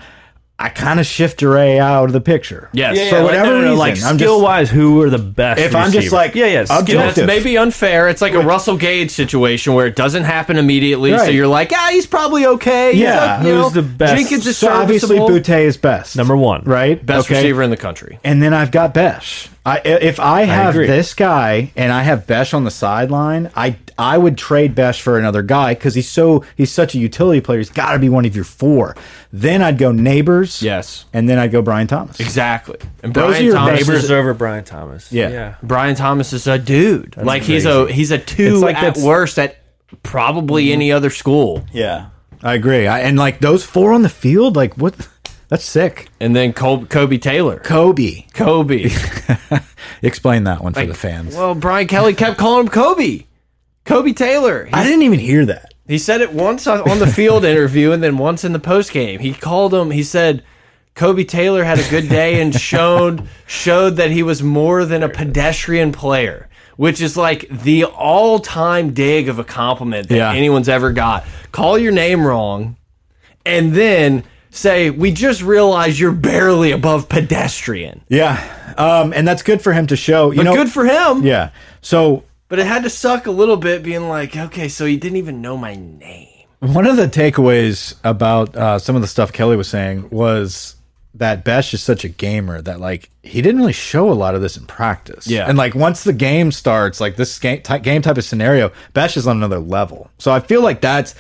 Speaker 4: I kind of shift Duray out of the picture.
Speaker 3: Yes. Yeah,
Speaker 4: for
Speaker 3: yeah,
Speaker 2: like,
Speaker 4: whatever
Speaker 2: no, no, no,
Speaker 4: reason,
Speaker 2: like
Speaker 4: I'm
Speaker 2: skill
Speaker 4: just
Speaker 2: wise, who are the best?
Speaker 4: If I'm just
Speaker 2: receivers?
Speaker 4: like,
Speaker 2: yeah, yeah,
Speaker 4: I'm
Speaker 2: skill-
Speaker 4: just-
Speaker 3: That's maybe unfair. It's like a Russell Gage situation where it doesn't happen immediately. So
Speaker 4: Right.
Speaker 3: you're like, ah, he's probably okay. He's
Speaker 4: Yeah.
Speaker 3: not- you
Speaker 2: Who's
Speaker 3: know,
Speaker 2: the best?
Speaker 3: Jenkins is
Speaker 4: so obviously
Speaker 3: serviceable.
Speaker 4: Butte is best
Speaker 2: number one,
Speaker 4: right
Speaker 3: best
Speaker 4: Okay.
Speaker 3: receiver in the country.
Speaker 4: and then I've got Besh. I if I have
Speaker 2: agree.
Speaker 4: this guy and I have Besh on the sideline, I I would trade Besh for another guy because he's so he's such a utility player. He's got to be one of your four. Then I'd go neighbors.
Speaker 3: Yes.
Speaker 4: and then I'd go Brian Thomas.
Speaker 3: Exactly. And
Speaker 4: Those are
Speaker 3: Brian
Speaker 4: your
Speaker 3: Thomas is
Speaker 2: Neighbors over Brian Thomas.
Speaker 4: Yeah.
Speaker 3: Brian Thomas is a dude. like he's a he's a two
Speaker 2: It's like
Speaker 3: at
Speaker 2: that's-
Speaker 3: worst at probably any other school.
Speaker 4: Yeah, I agree. I, and like those four on the field, like what? That's sick.
Speaker 3: And then Col Kobe Taylor,
Speaker 4: Kobe,
Speaker 3: Kobe.
Speaker 4: explain that one for the fans.
Speaker 3: well, Brian Kelly kept calling him Kobe, Kobe Taylor. He,
Speaker 4: I didn't even hear that.
Speaker 3: he said it once on on the field interview, and then once in the post game. He called him. He said. Kobe Taylor had a good day and showed showed that he was more than a pedestrian player, which is like the all time dig of a compliment that
Speaker 4: Yeah.
Speaker 3: anyone's ever got. Call your name wrong, and then say, "We just realize you're barely above pedestrian."
Speaker 4: Yeah, um, and that's good for him to show. You know,
Speaker 3: Good for him,
Speaker 4: yeah. So
Speaker 3: but it had to suck a little bit, being like, "Okay, so he didn't even know my name."
Speaker 4: One of the takeaways about uh, some of the stuff Kelly was saying was that Besh is such a gamer that like he didn't really show a lot of this in practice.
Speaker 3: Yeah.
Speaker 4: and like once the game starts, like this game ty game type of scenario, Besh is on another level. So I feel like that's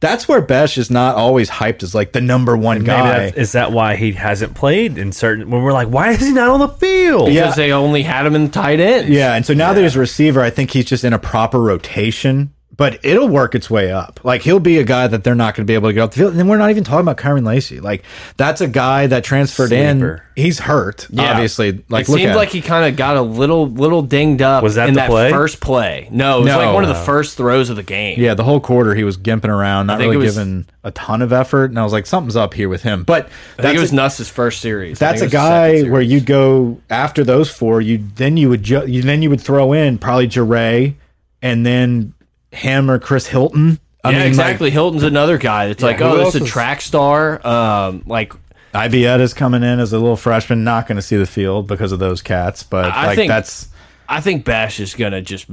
Speaker 4: that's where Besh is not always hyped as like the number one
Speaker 2: Maybe
Speaker 4: guy.
Speaker 2: that's, is that why he hasn't played in certain? When we're like, why is he not on the field?
Speaker 4: Yeah.
Speaker 3: because they only had him in tight end.
Speaker 4: Yeah, and so now that he's a receiver, I think he's just in a proper rotation, but it'll work its way up. Like he'll be a guy that they're not going to be able to get off the field. And then we're not even talking about Kyron Lacey. Like that's a guy that transferred
Speaker 2: Sleeper.
Speaker 4: in. He's hurt, obviously. Like
Speaker 3: it
Speaker 4: look
Speaker 3: seemed
Speaker 4: at
Speaker 3: like
Speaker 4: him.
Speaker 3: he kind of got a little little dinged up.
Speaker 2: Was that
Speaker 3: in
Speaker 2: the
Speaker 3: that
Speaker 2: play?
Speaker 3: first play? No, it was
Speaker 4: No.
Speaker 3: like one of the first throws of the game.
Speaker 4: yeah, the whole quarter he was gimping around, not
Speaker 3: think
Speaker 4: really
Speaker 3: it was-
Speaker 4: giving a ton of effort, and I was like, something's up here with him. But
Speaker 3: I think
Speaker 4: that's
Speaker 3: it was
Speaker 4: a-
Speaker 3: Nuss's first series. I
Speaker 4: that's a
Speaker 3: think it was the second
Speaker 4: guy
Speaker 3: series.
Speaker 4: where you'd go after those four. You then you would ju- you, then you would throw in probably Jare, and then him or Chris Hilton. I
Speaker 3: yeah,
Speaker 4: like,
Speaker 3: exactly. Hilton's another guy that's like,
Speaker 4: who
Speaker 3: oh,
Speaker 4: else
Speaker 3: this is a
Speaker 4: is-
Speaker 3: track star. Um, like
Speaker 4: Ibietta's coming in as a little freshman, not going to see the field because of those cats. But
Speaker 3: I
Speaker 4: like
Speaker 3: think-
Speaker 4: that's
Speaker 3: I think Bash is gonna just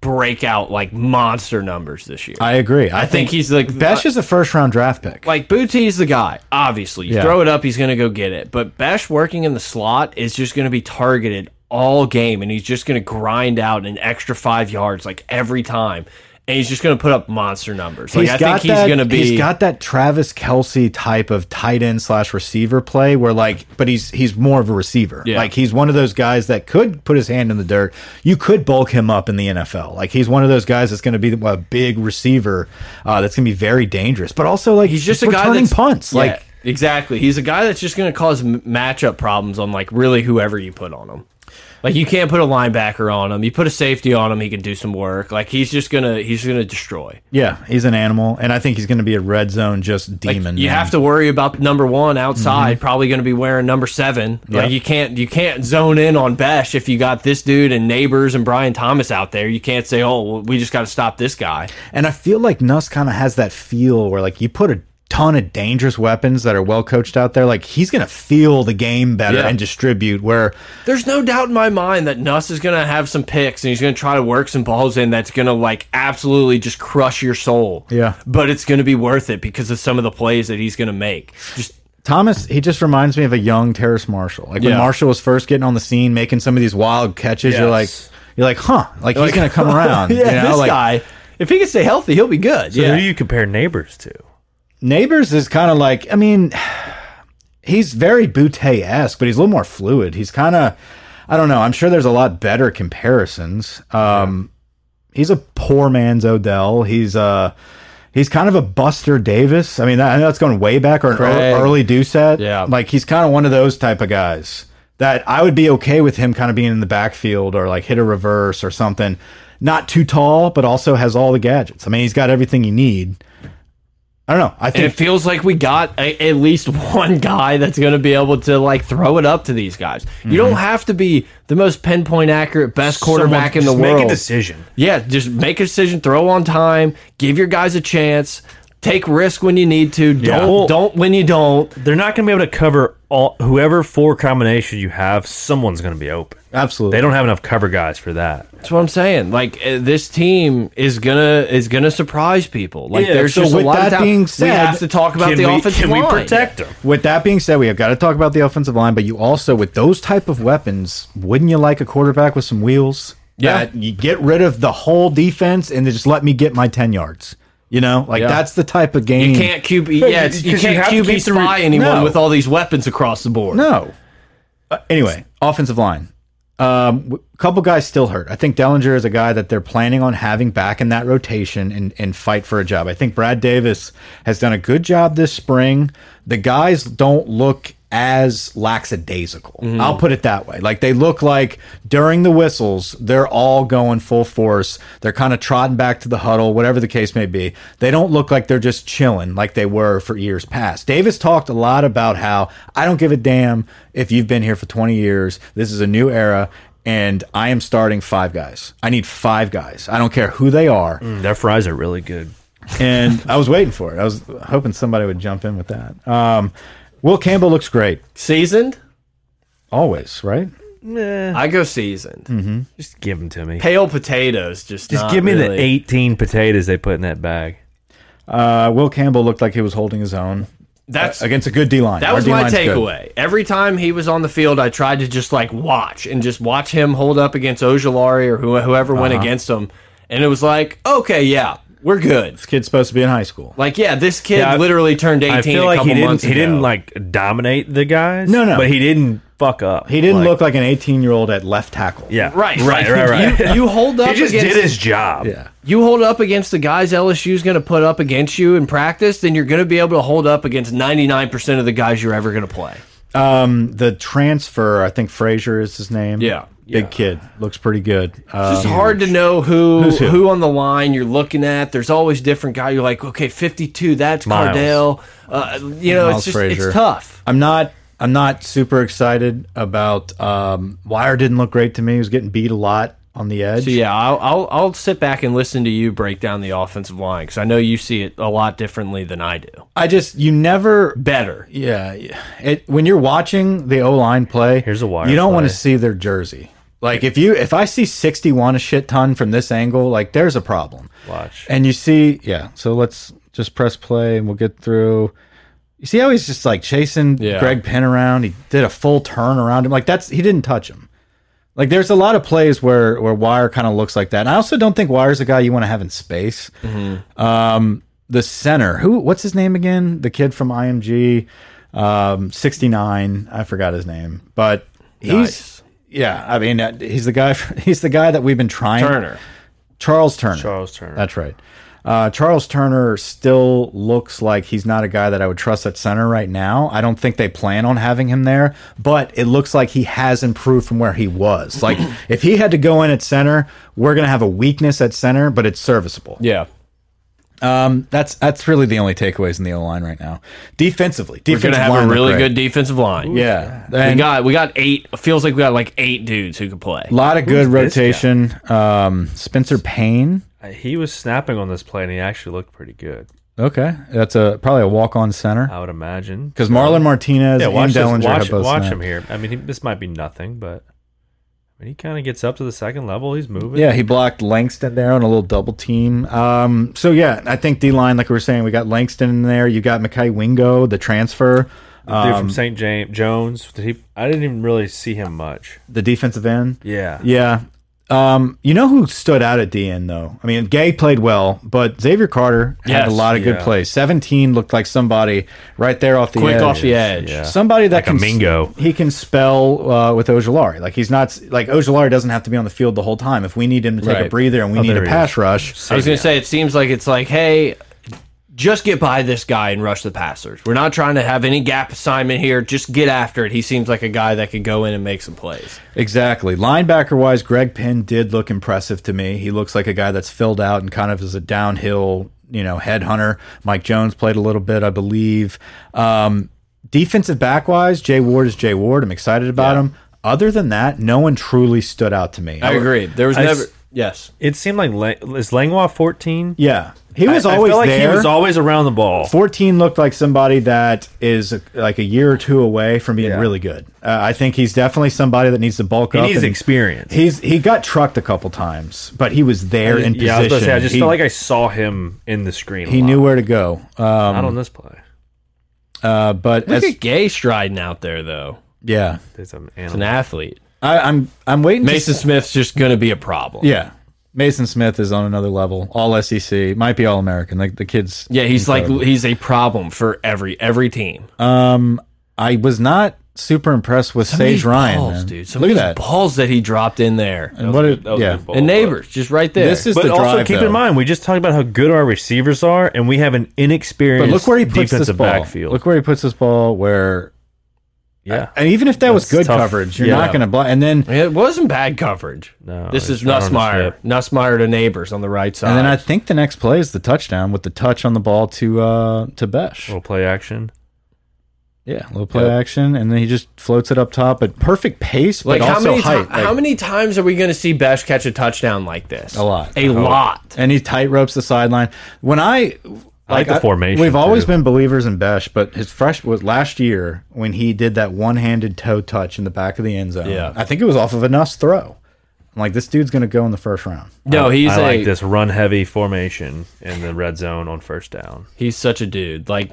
Speaker 3: break out like monster numbers this year.
Speaker 4: I
Speaker 3: I,
Speaker 4: agree. I,
Speaker 3: think he's like
Speaker 4: Besh is a first round draft pick.
Speaker 3: like Bootie's the guy. Obviously, you
Speaker 4: Yeah.
Speaker 3: throw it up, he's gonna go get it. But Bash working in the slot is just gonna be targeted all game, and he's just gonna grind out an extra five yards like every time, and he's just gonna put up monster numbers. Like I think he's
Speaker 4: that,
Speaker 3: gonna be.
Speaker 4: He's got that Travis Kelsey type of tight end slash receiver play where like, but he's he's more of a receiver.
Speaker 3: Yeah.
Speaker 4: Like he's one of those guys that could put his hand in the dirt. You could bulk him up in the NFL. Like he's one of those guys that's going to be a big receiver uh, that's going to be very dangerous. But also like
Speaker 3: He's just a guy
Speaker 4: returning
Speaker 3: that's
Speaker 4: punts.
Speaker 3: Yeah,
Speaker 4: Like
Speaker 3: exactly. He's a guy that's just going to cause m- matchup problems on like really whoever you put on him. Like you can't put a linebacker on him. You put a safety on him, he can do some work. Like he's just gonna he's gonna destroy.
Speaker 4: yeah, he's an animal, and I think he's going to be a red zone just
Speaker 3: Like,
Speaker 4: demon.
Speaker 3: you
Speaker 4: man.
Speaker 3: have to worry about number one outside, probably gonna be wearing number seven. Like
Speaker 4: Yeah.
Speaker 3: you can't you can't zone in on Besh if you got this dude and neighbors and Brian Thomas out there. You can't say, Oh, well, we just gotta stop this guy.
Speaker 4: And I feel like Nuss kind of has that feel where like you put a ton of dangerous weapons that are well coached out there, like he's gonna feel the game better
Speaker 3: Yeah.
Speaker 4: and distribute. Where
Speaker 3: There's no doubt in my mind that Nuss is going to have some picks and he's going to try to work some balls in that's going to like absolutely just crush your soul.
Speaker 4: Yeah.
Speaker 3: But it's going to be worth it because of some of the plays that he's going to make. Just
Speaker 4: Thomas, he just reminds me of a young Terrace Marshall. Like when
Speaker 3: Yeah.
Speaker 4: Marshall was first getting on the scene, making some of these wild catches, you're like,
Speaker 2: Yes.
Speaker 4: you're like, huh? Like he's gonna come around.
Speaker 3: yeah,
Speaker 4: you know?
Speaker 3: this
Speaker 4: like,
Speaker 3: guy, if he can stay healthy, he'll be good.
Speaker 2: So
Speaker 3: yeah.
Speaker 2: Who do you compare neighbors to?
Speaker 4: Neighbors is kind of like, I mean, he's very Boutte esque, but he's a little more fluid. He's kind of, I don't know. I'm sure there's a lot better comparisons. Um, He's a poor man's Odell. He's uh he's kind of a Buster Davis. I mean, that, I know that's going way back or an
Speaker 3: Craig.
Speaker 4: ear- early Doucette.
Speaker 3: Yeah.
Speaker 4: like he's kind of one of those type of guys that I would be okay with him kind of being in the backfield or like hit a reverse or something. Not too tall, but also has all the gadgets. I mean, he's got everything you need. I don't know. I
Speaker 3: and it
Speaker 4: think
Speaker 3: feels like we got a, at least one guy that's going to be able to like throw it up to these guys. You don't have to be the most pinpoint accurate, best quarterback in
Speaker 2: Mm-hmm. Someone-
Speaker 3: the
Speaker 2: just
Speaker 3: world.
Speaker 2: Make a decision.
Speaker 3: Yeah, just make a decision, throw on time, give your guys a chance, take risk when you need to. Don't
Speaker 2: Well-
Speaker 3: don't when you don't.
Speaker 2: They're not going to be able to cover all whoever four combination you have. Someone's going to be open.
Speaker 4: absolutely.
Speaker 2: They don't have enough cover guys for that.
Speaker 3: That's what I'm saying. Like uh, this team is gonna is gonna surprise people. Like
Speaker 2: Yeah,
Speaker 3: there's
Speaker 2: so
Speaker 3: just a
Speaker 4: with
Speaker 3: lot
Speaker 4: that
Speaker 3: of doubt.
Speaker 4: being
Speaker 3: we have
Speaker 4: said,
Speaker 3: to talk about
Speaker 2: can
Speaker 3: the
Speaker 2: we,
Speaker 3: offensive
Speaker 2: can
Speaker 3: line.
Speaker 2: we protect them?
Speaker 4: With that being said, we have got to talk about the offensive line, but you also, with those type of weapons, wouldn't you like a quarterback with some wheels?
Speaker 3: Yeah.
Speaker 4: That you get rid of the whole defense and they just let me get my 10 yards. You know, like
Speaker 3: Yeah.
Speaker 4: that's the type of game.
Speaker 3: You can't QB. Yeah, it's, you
Speaker 2: Because you
Speaker 3: can't
Speaker 2: have to
Speaker 3: QB
Speaker 2: keep the re-
Speaker 3: spy anyone
Speaker 4: No.
Speaker 3: with all these weapons across the board.
Speaker 4: No. Uh, anyway, offensive line. Um, a couple guys still hurt. I think Dellinger is a guy that they're planning on having back in that rotation and, and fight for a job. I think Brad Davis has done a good job this spring. The guys don't look as lackadaisical. I'll put it that way. Like they look like during the whistles, they're all going full force. They're kind of trotting back to the huddle, whatever the case may be. They don't look like they're just chilling like they were for years past. Davis talked a lot about how I don't give a damn if you've been here for 20 years. This is a new era. And I am starting five guys. I need five guys. I don't care who they are.
Speaker 3: Mm.
Speaker 2: Mm, Their fries are really good.
Speaker 4: And I was waiting for it. I was hoping somebody would jump in with that. Um, Will Campbell looks great
Speaker 3: Seasoned?
Speaker 4: always, right?
Speaker 3: I go seasoned.
Speaker 2: Just give them to me.
Speaker 3: Pale potatoes. Just
Speaker 2: Hmm. Just
Speaker 3: not
Speaker 2: give me
Speaker 3: really.
Speaker 2: the 18 potatoes they put in that bag.
Speaker 4: Uh, Will Campbell looked like he was holding his own uh,
Speaker 3: That's
Speaker 4: against a good D line.
Speaker 3: That was my takeaway. Every time he was on the field, I tried to just like watch and just watch him hold up against Ojolari or who- whoever went
Speaker 2: Uh-huh.
Speaker 3: against him, and it was like, okay, yeah, we're good.
Speaker 4: This kid's supposed to be in high school.
Speaker 3: Like, yeah, this kid
Speaker 2: Yeah, I-
Speaker 3: literally turned eighteen.
Speaker 2: I
Speaker 3: a
Speaker 2: feel like
Speaker 3: couple
Speaker 2: he didn't.
Speaker 3: months
Speaker 2: He didn't
Speaker 3: ago.
Speaker 2: like dominate the guys.
Speaker 4: No, no.
Speaker 2: But he didn't fuck up.
Speaker 4: He didn't look like an 18 year old at left tackle.
Speaker 2: Yeah.
Speaker 3: right,
Speaker 2: Right. Right. Right.
Speaker 3: You, you hold up
Speaker 2: he just
Speaker 3: against
Speaker 2: did his job.
Speaker 4: Yeah.
Speaker 3: you hold up against the guys LSU's going to put up against you in practice, then you're going to be able to hold up against ninety nine percent of the guys you're ever going to play.
Speaker 4: Um, the transfer, I think Frazier is his name.
Speaker 3: Yeah.
Speaker 4: Big kid. Looks pretty good. Um,
Speaker 3: It's hard to know who,
Speaker 4: Who's
Speaker 3: who
Speaker 4: who?
Speaker 3: on the line you're looking at. There's always different guy. You're like, okay, 52. That's
Speaker 2: Miles.
Speaker 3: Cardell. Uh, you know,
Speaker 4: Miles
Speaker 3: it's just
Speaker 4: Frazier.
Speaker 3: it's tough.
Speaker 4: I'm not. I'm not super excited about. Um, Wire didn't look great to me. He was getting beat a lot on the edge.
Speaker 3: So yeah, I'll, I'll I'll sit back and listen to you break down the offensive line because I know you see it a lot differently than I do.
Speaker 4: I just you never.
Speaker 3: Better.
Speaker 4: Yeah, yeah. it, when you're watching the O line play,
Speaker 2: Here's a Wire
Speaker 4: You don't want to
Speaker 2: play.
Speaker 4: see their jersey. Like if you if I see 61 a shit ton from this angle, like there's a problem.
Speaker 2: Watch.
Speaker 4: And you see, yeah. So let's just press play and we'll get through. You see how he's just like chasing
Speaker 3: Yeah.
Speaker 4: Greg Penn around. He did a full turn around him. Like that's he didn't touch him. Like there's a lot of plays where where Wire kind of looks like that. And I also don't think Wire's a guy you want to have in space.
Speaker 3: Mm-hmm.
Speaker 4: Um, the center, who what's his name again? The kid from IMG, um, 69. I forgot his name, but he's
Speaker 3: Nice.
Speaker 4: yeah. I mean, uh, he's the guy. He's the guy that we've been trying.
Speaker 3: Turner.
Speaker 4: Charles Turner.
Speaker 2: Charles Turner.
Speaker 4: That's right. Uh, Charles Turner still looks like he's not a guy that I would trust at center right now. I don't think they plan on having him there, but it looks like he has improved from where he was. Like if he had to go in at center, we're gonna have a weakness at center, but it's serviceable.
Speaker 3: Yeah.
Speaker 4: Um, that's that's really the only takeaways in the O line right now. Defensively,
Speaker 3: We're going
Speaker 4: defensive
Speaker 3: to have
Speaker 4: line
Speaker 3: a
Speaker 4: looked
Speaker 3: really
Speaker 4: great.
Speaker 3: good defensive line.
Speaker 4: Yeah,
Speaker 3: We
Speaker 4: and a
Speaker 3: got we got eight. It feels like we got like eight dudes who could play.
Speaker 4: lot of good
Speaker 2: Who's this guy?
Speaker 4: rotation. Um, Spencer Payne.
Speaker 2: Uh, He was snapping on this play, and he actually looked pretty good.
Speaker 4: Okay, that's a probably a walk on center.
Speaker 2: I would imagine.
Speaker 4: Because Marlon Martinez
Speaker 2: Yeah,
Speaker 4: and
Speaker 2: watch, this,
Speaker 4: Dellinger
Speaker 2: watch,
Speaker 4: have both
Speaker 2: watch
Speaker 4: snapped.
Speaker 2: him here. I mean, he, this might be nothing, but I mean, he kind of gets up to the second level. He's moving.
Speaker 4: Yeah, he blocked Langston there on a little double team. Um, so yeah, I think D line, like we were saying, we got Langston in there. You got Mackay Wingo, the transfer,
Speaker 2: dude from St. James Um, Jones. Did he? I didn't even really see him much.
Speaker 4: the defensive end.
Speaker 2: Yeah,
Speaker 4: Yeah. Um, you know who stood out at DN though? I mean, Gay played well, but Xavier Carter had
Speaker 3: Yes,
Speaker 4: a lot of good
Speaker 2: yeah.
Speaker 4: plays. Seventeen looked like somebody right there off the
Speaker 3: Quick
Speaker 4: edge.
Speaker 3: off the edge.
Speaker 2: Yeah.
Speaker 4: Somebody that
Speaker 2: Like a
Speaker 4: can
Speaker 2: Mingo.
Speaker 4: He can spell uh, with Ojolari. Like he's not like Ojolari doesn't have to be on the field the whole time. If we need him to take
Speaker 3: Right.
Speaker 4: a breather and we need
Speaker 2: Oh, there
Speaker 4: a
Speaker 2: he
Speaker 4: pass rush,
Speaker 3: I was going to say, it seems like it's like, hey, just get by this guy and rush the passers. We're not trying to have any gap assignment here. Just get after it. He seems like a guy that could go in and make some plays.
Speaker 4: Exactly. Linebacker wise, Greg Penn did look impressive to me. He looks like a guy that's filled out and kind of is a downhill, you know, headhunter. Mike Jones played a little bit, I believe. Um, defensive back wise, Jay Ward is Jay Ward. I'm excited about him. Other than that, no one truly stood out to me.
Speaker 3: I agree. There was
Speaker 2: I
Speaker 3: never.
Speaker 2: s-
Speaker 3: Yes.
Speaker 2: it seemed like Lang- is Langlois fourteen.
Speaker 4: Yeah. He was
Speaker 2: I feel
Speaker 4: always
Speaker 2: like
Speaker 4: there.
Speaker 2: He was always around the ball.
Speaker 4: 14 looked like somebody that is uh, like a year or two away from being
Speaker 2: Yeah.
Speaker 4: really good. Uh, I think he's definitely somebody that needs to bulk
Speaker 2: He
Speaker 4: up.
Speaker 2: needs
Speaker 4: and-
Speaker 2: experience.
Speaker 4: He's he got trucked a couple times, but he was there in position.
Speaker 2: yeah, I was gonna say. I just
Speaker 4: he,
Speaker 2: felt like I saw him in the screen. a
Speaker 4: he
Speaker 2: lot.
Speaker 4: knew where to go.
Speaker 2: not
Speaker 4: Um,
Speaker 2: on this play.
Speaker 4: uh, but as,
Speaker 3: Look at Gay striding out there, though.
Speaker 4: yeah,
Speaker 2: There's an
Speaker 3: An
Speaker 2: animal.
Speaker 3: athlete.
Speaker 4: I, I'm I'm waiting. to
Speaker 3: Mason Smith's just going to be a problem.
Speaker 4: yeah, Mason Smith is on another level. All SEC, might be All American. Like the kids.
Speaker 3: Yeah, he's like he's a problem for every every team.
Speaker 4: Um, I was not super impressed with Sage Ryan.
Speaker 3: balls,
Speaker 4: man.
Speaker 3: dude. Some
Speaker 4: Look at
Speaker 3: of
Speaker 4: that.
Speaker 3: these balls that he dropped in there.
Speaker 4: And what? it-
Speaker 2: That was a
Speaker 4: yeah.
Speaker 2: good ball,
Speaker 3: and
Speaker 2: but-
Speaker 3: neighbors, just right there.
Speaker 4: This is
Speaker 2: But
Speaker 4: the
Speaker 2: also
Speaker 4: drive,
Speaker 2: keep
Speaker 4: though.
Speaker 2: in mind, we just talked about how good our receivers are, and we have an inexperienced
Speaker 4: But look where he puts this
Speaker 2: defensive
Speaker 4: ball.
Speaker 2: backfield.
Speaker 4: Look where he puts this ball. Where
Speaker 2: yeah,
Speaker 4: and even if that was
Speaker 2: That's
Speaker 4: good
Speaker 2: tough.
Speaker 4: coverage, you're
Speaker 2: Yeah.
Speaker 4: not going to block. And then
Speaker 3: it wasn't bad coverage.
Speaker 2: No,
Speaker 3: this is
Speaker 2: Oh, it's right on the
Speaker 3: Nussmeyer.
Speaker 2: strip.
Speaker 3: Nussmeyer to neighbors on the right side.
Speaker 4: And then I think the next play is the touchdown with the touch on the ball to uh, to Besh.
Speaker 2: little play action.
Speaker 4: yeah, little play action, and then he just floats it up top at perfect pace, but
Speaker 3: Like how
Speaker 4: also
Speaker 3: many ti-
Speaker 4: height.
Speaker 3: how
Speaker 4: like-
Speaker 3: many times are we going to see Besh catch a touchdown like this?
Speaker 4: A lot.
Speaker 3: A lot.
Speaker 4: And he tight ropes the sideline. When I
Speaker 2: I like the formation,
Speaker 4: we've always
Speaker 2: too.
Speaker 4: been believers in Besh, but his fresh was last year when he did that one handed toe touch in the back of the end zone.
Speaker 3: Yeah.
Speaker 4: I think it was off of a Nuss throw. I'm like, this dude's gonna go in the first round.
Speaker 3: No, he's
Speaker 2: I
Speaker 3: a,
Speaker 2: like this run heavy formation in the red zone on first down.
Speaker 3: He's such a dude. Like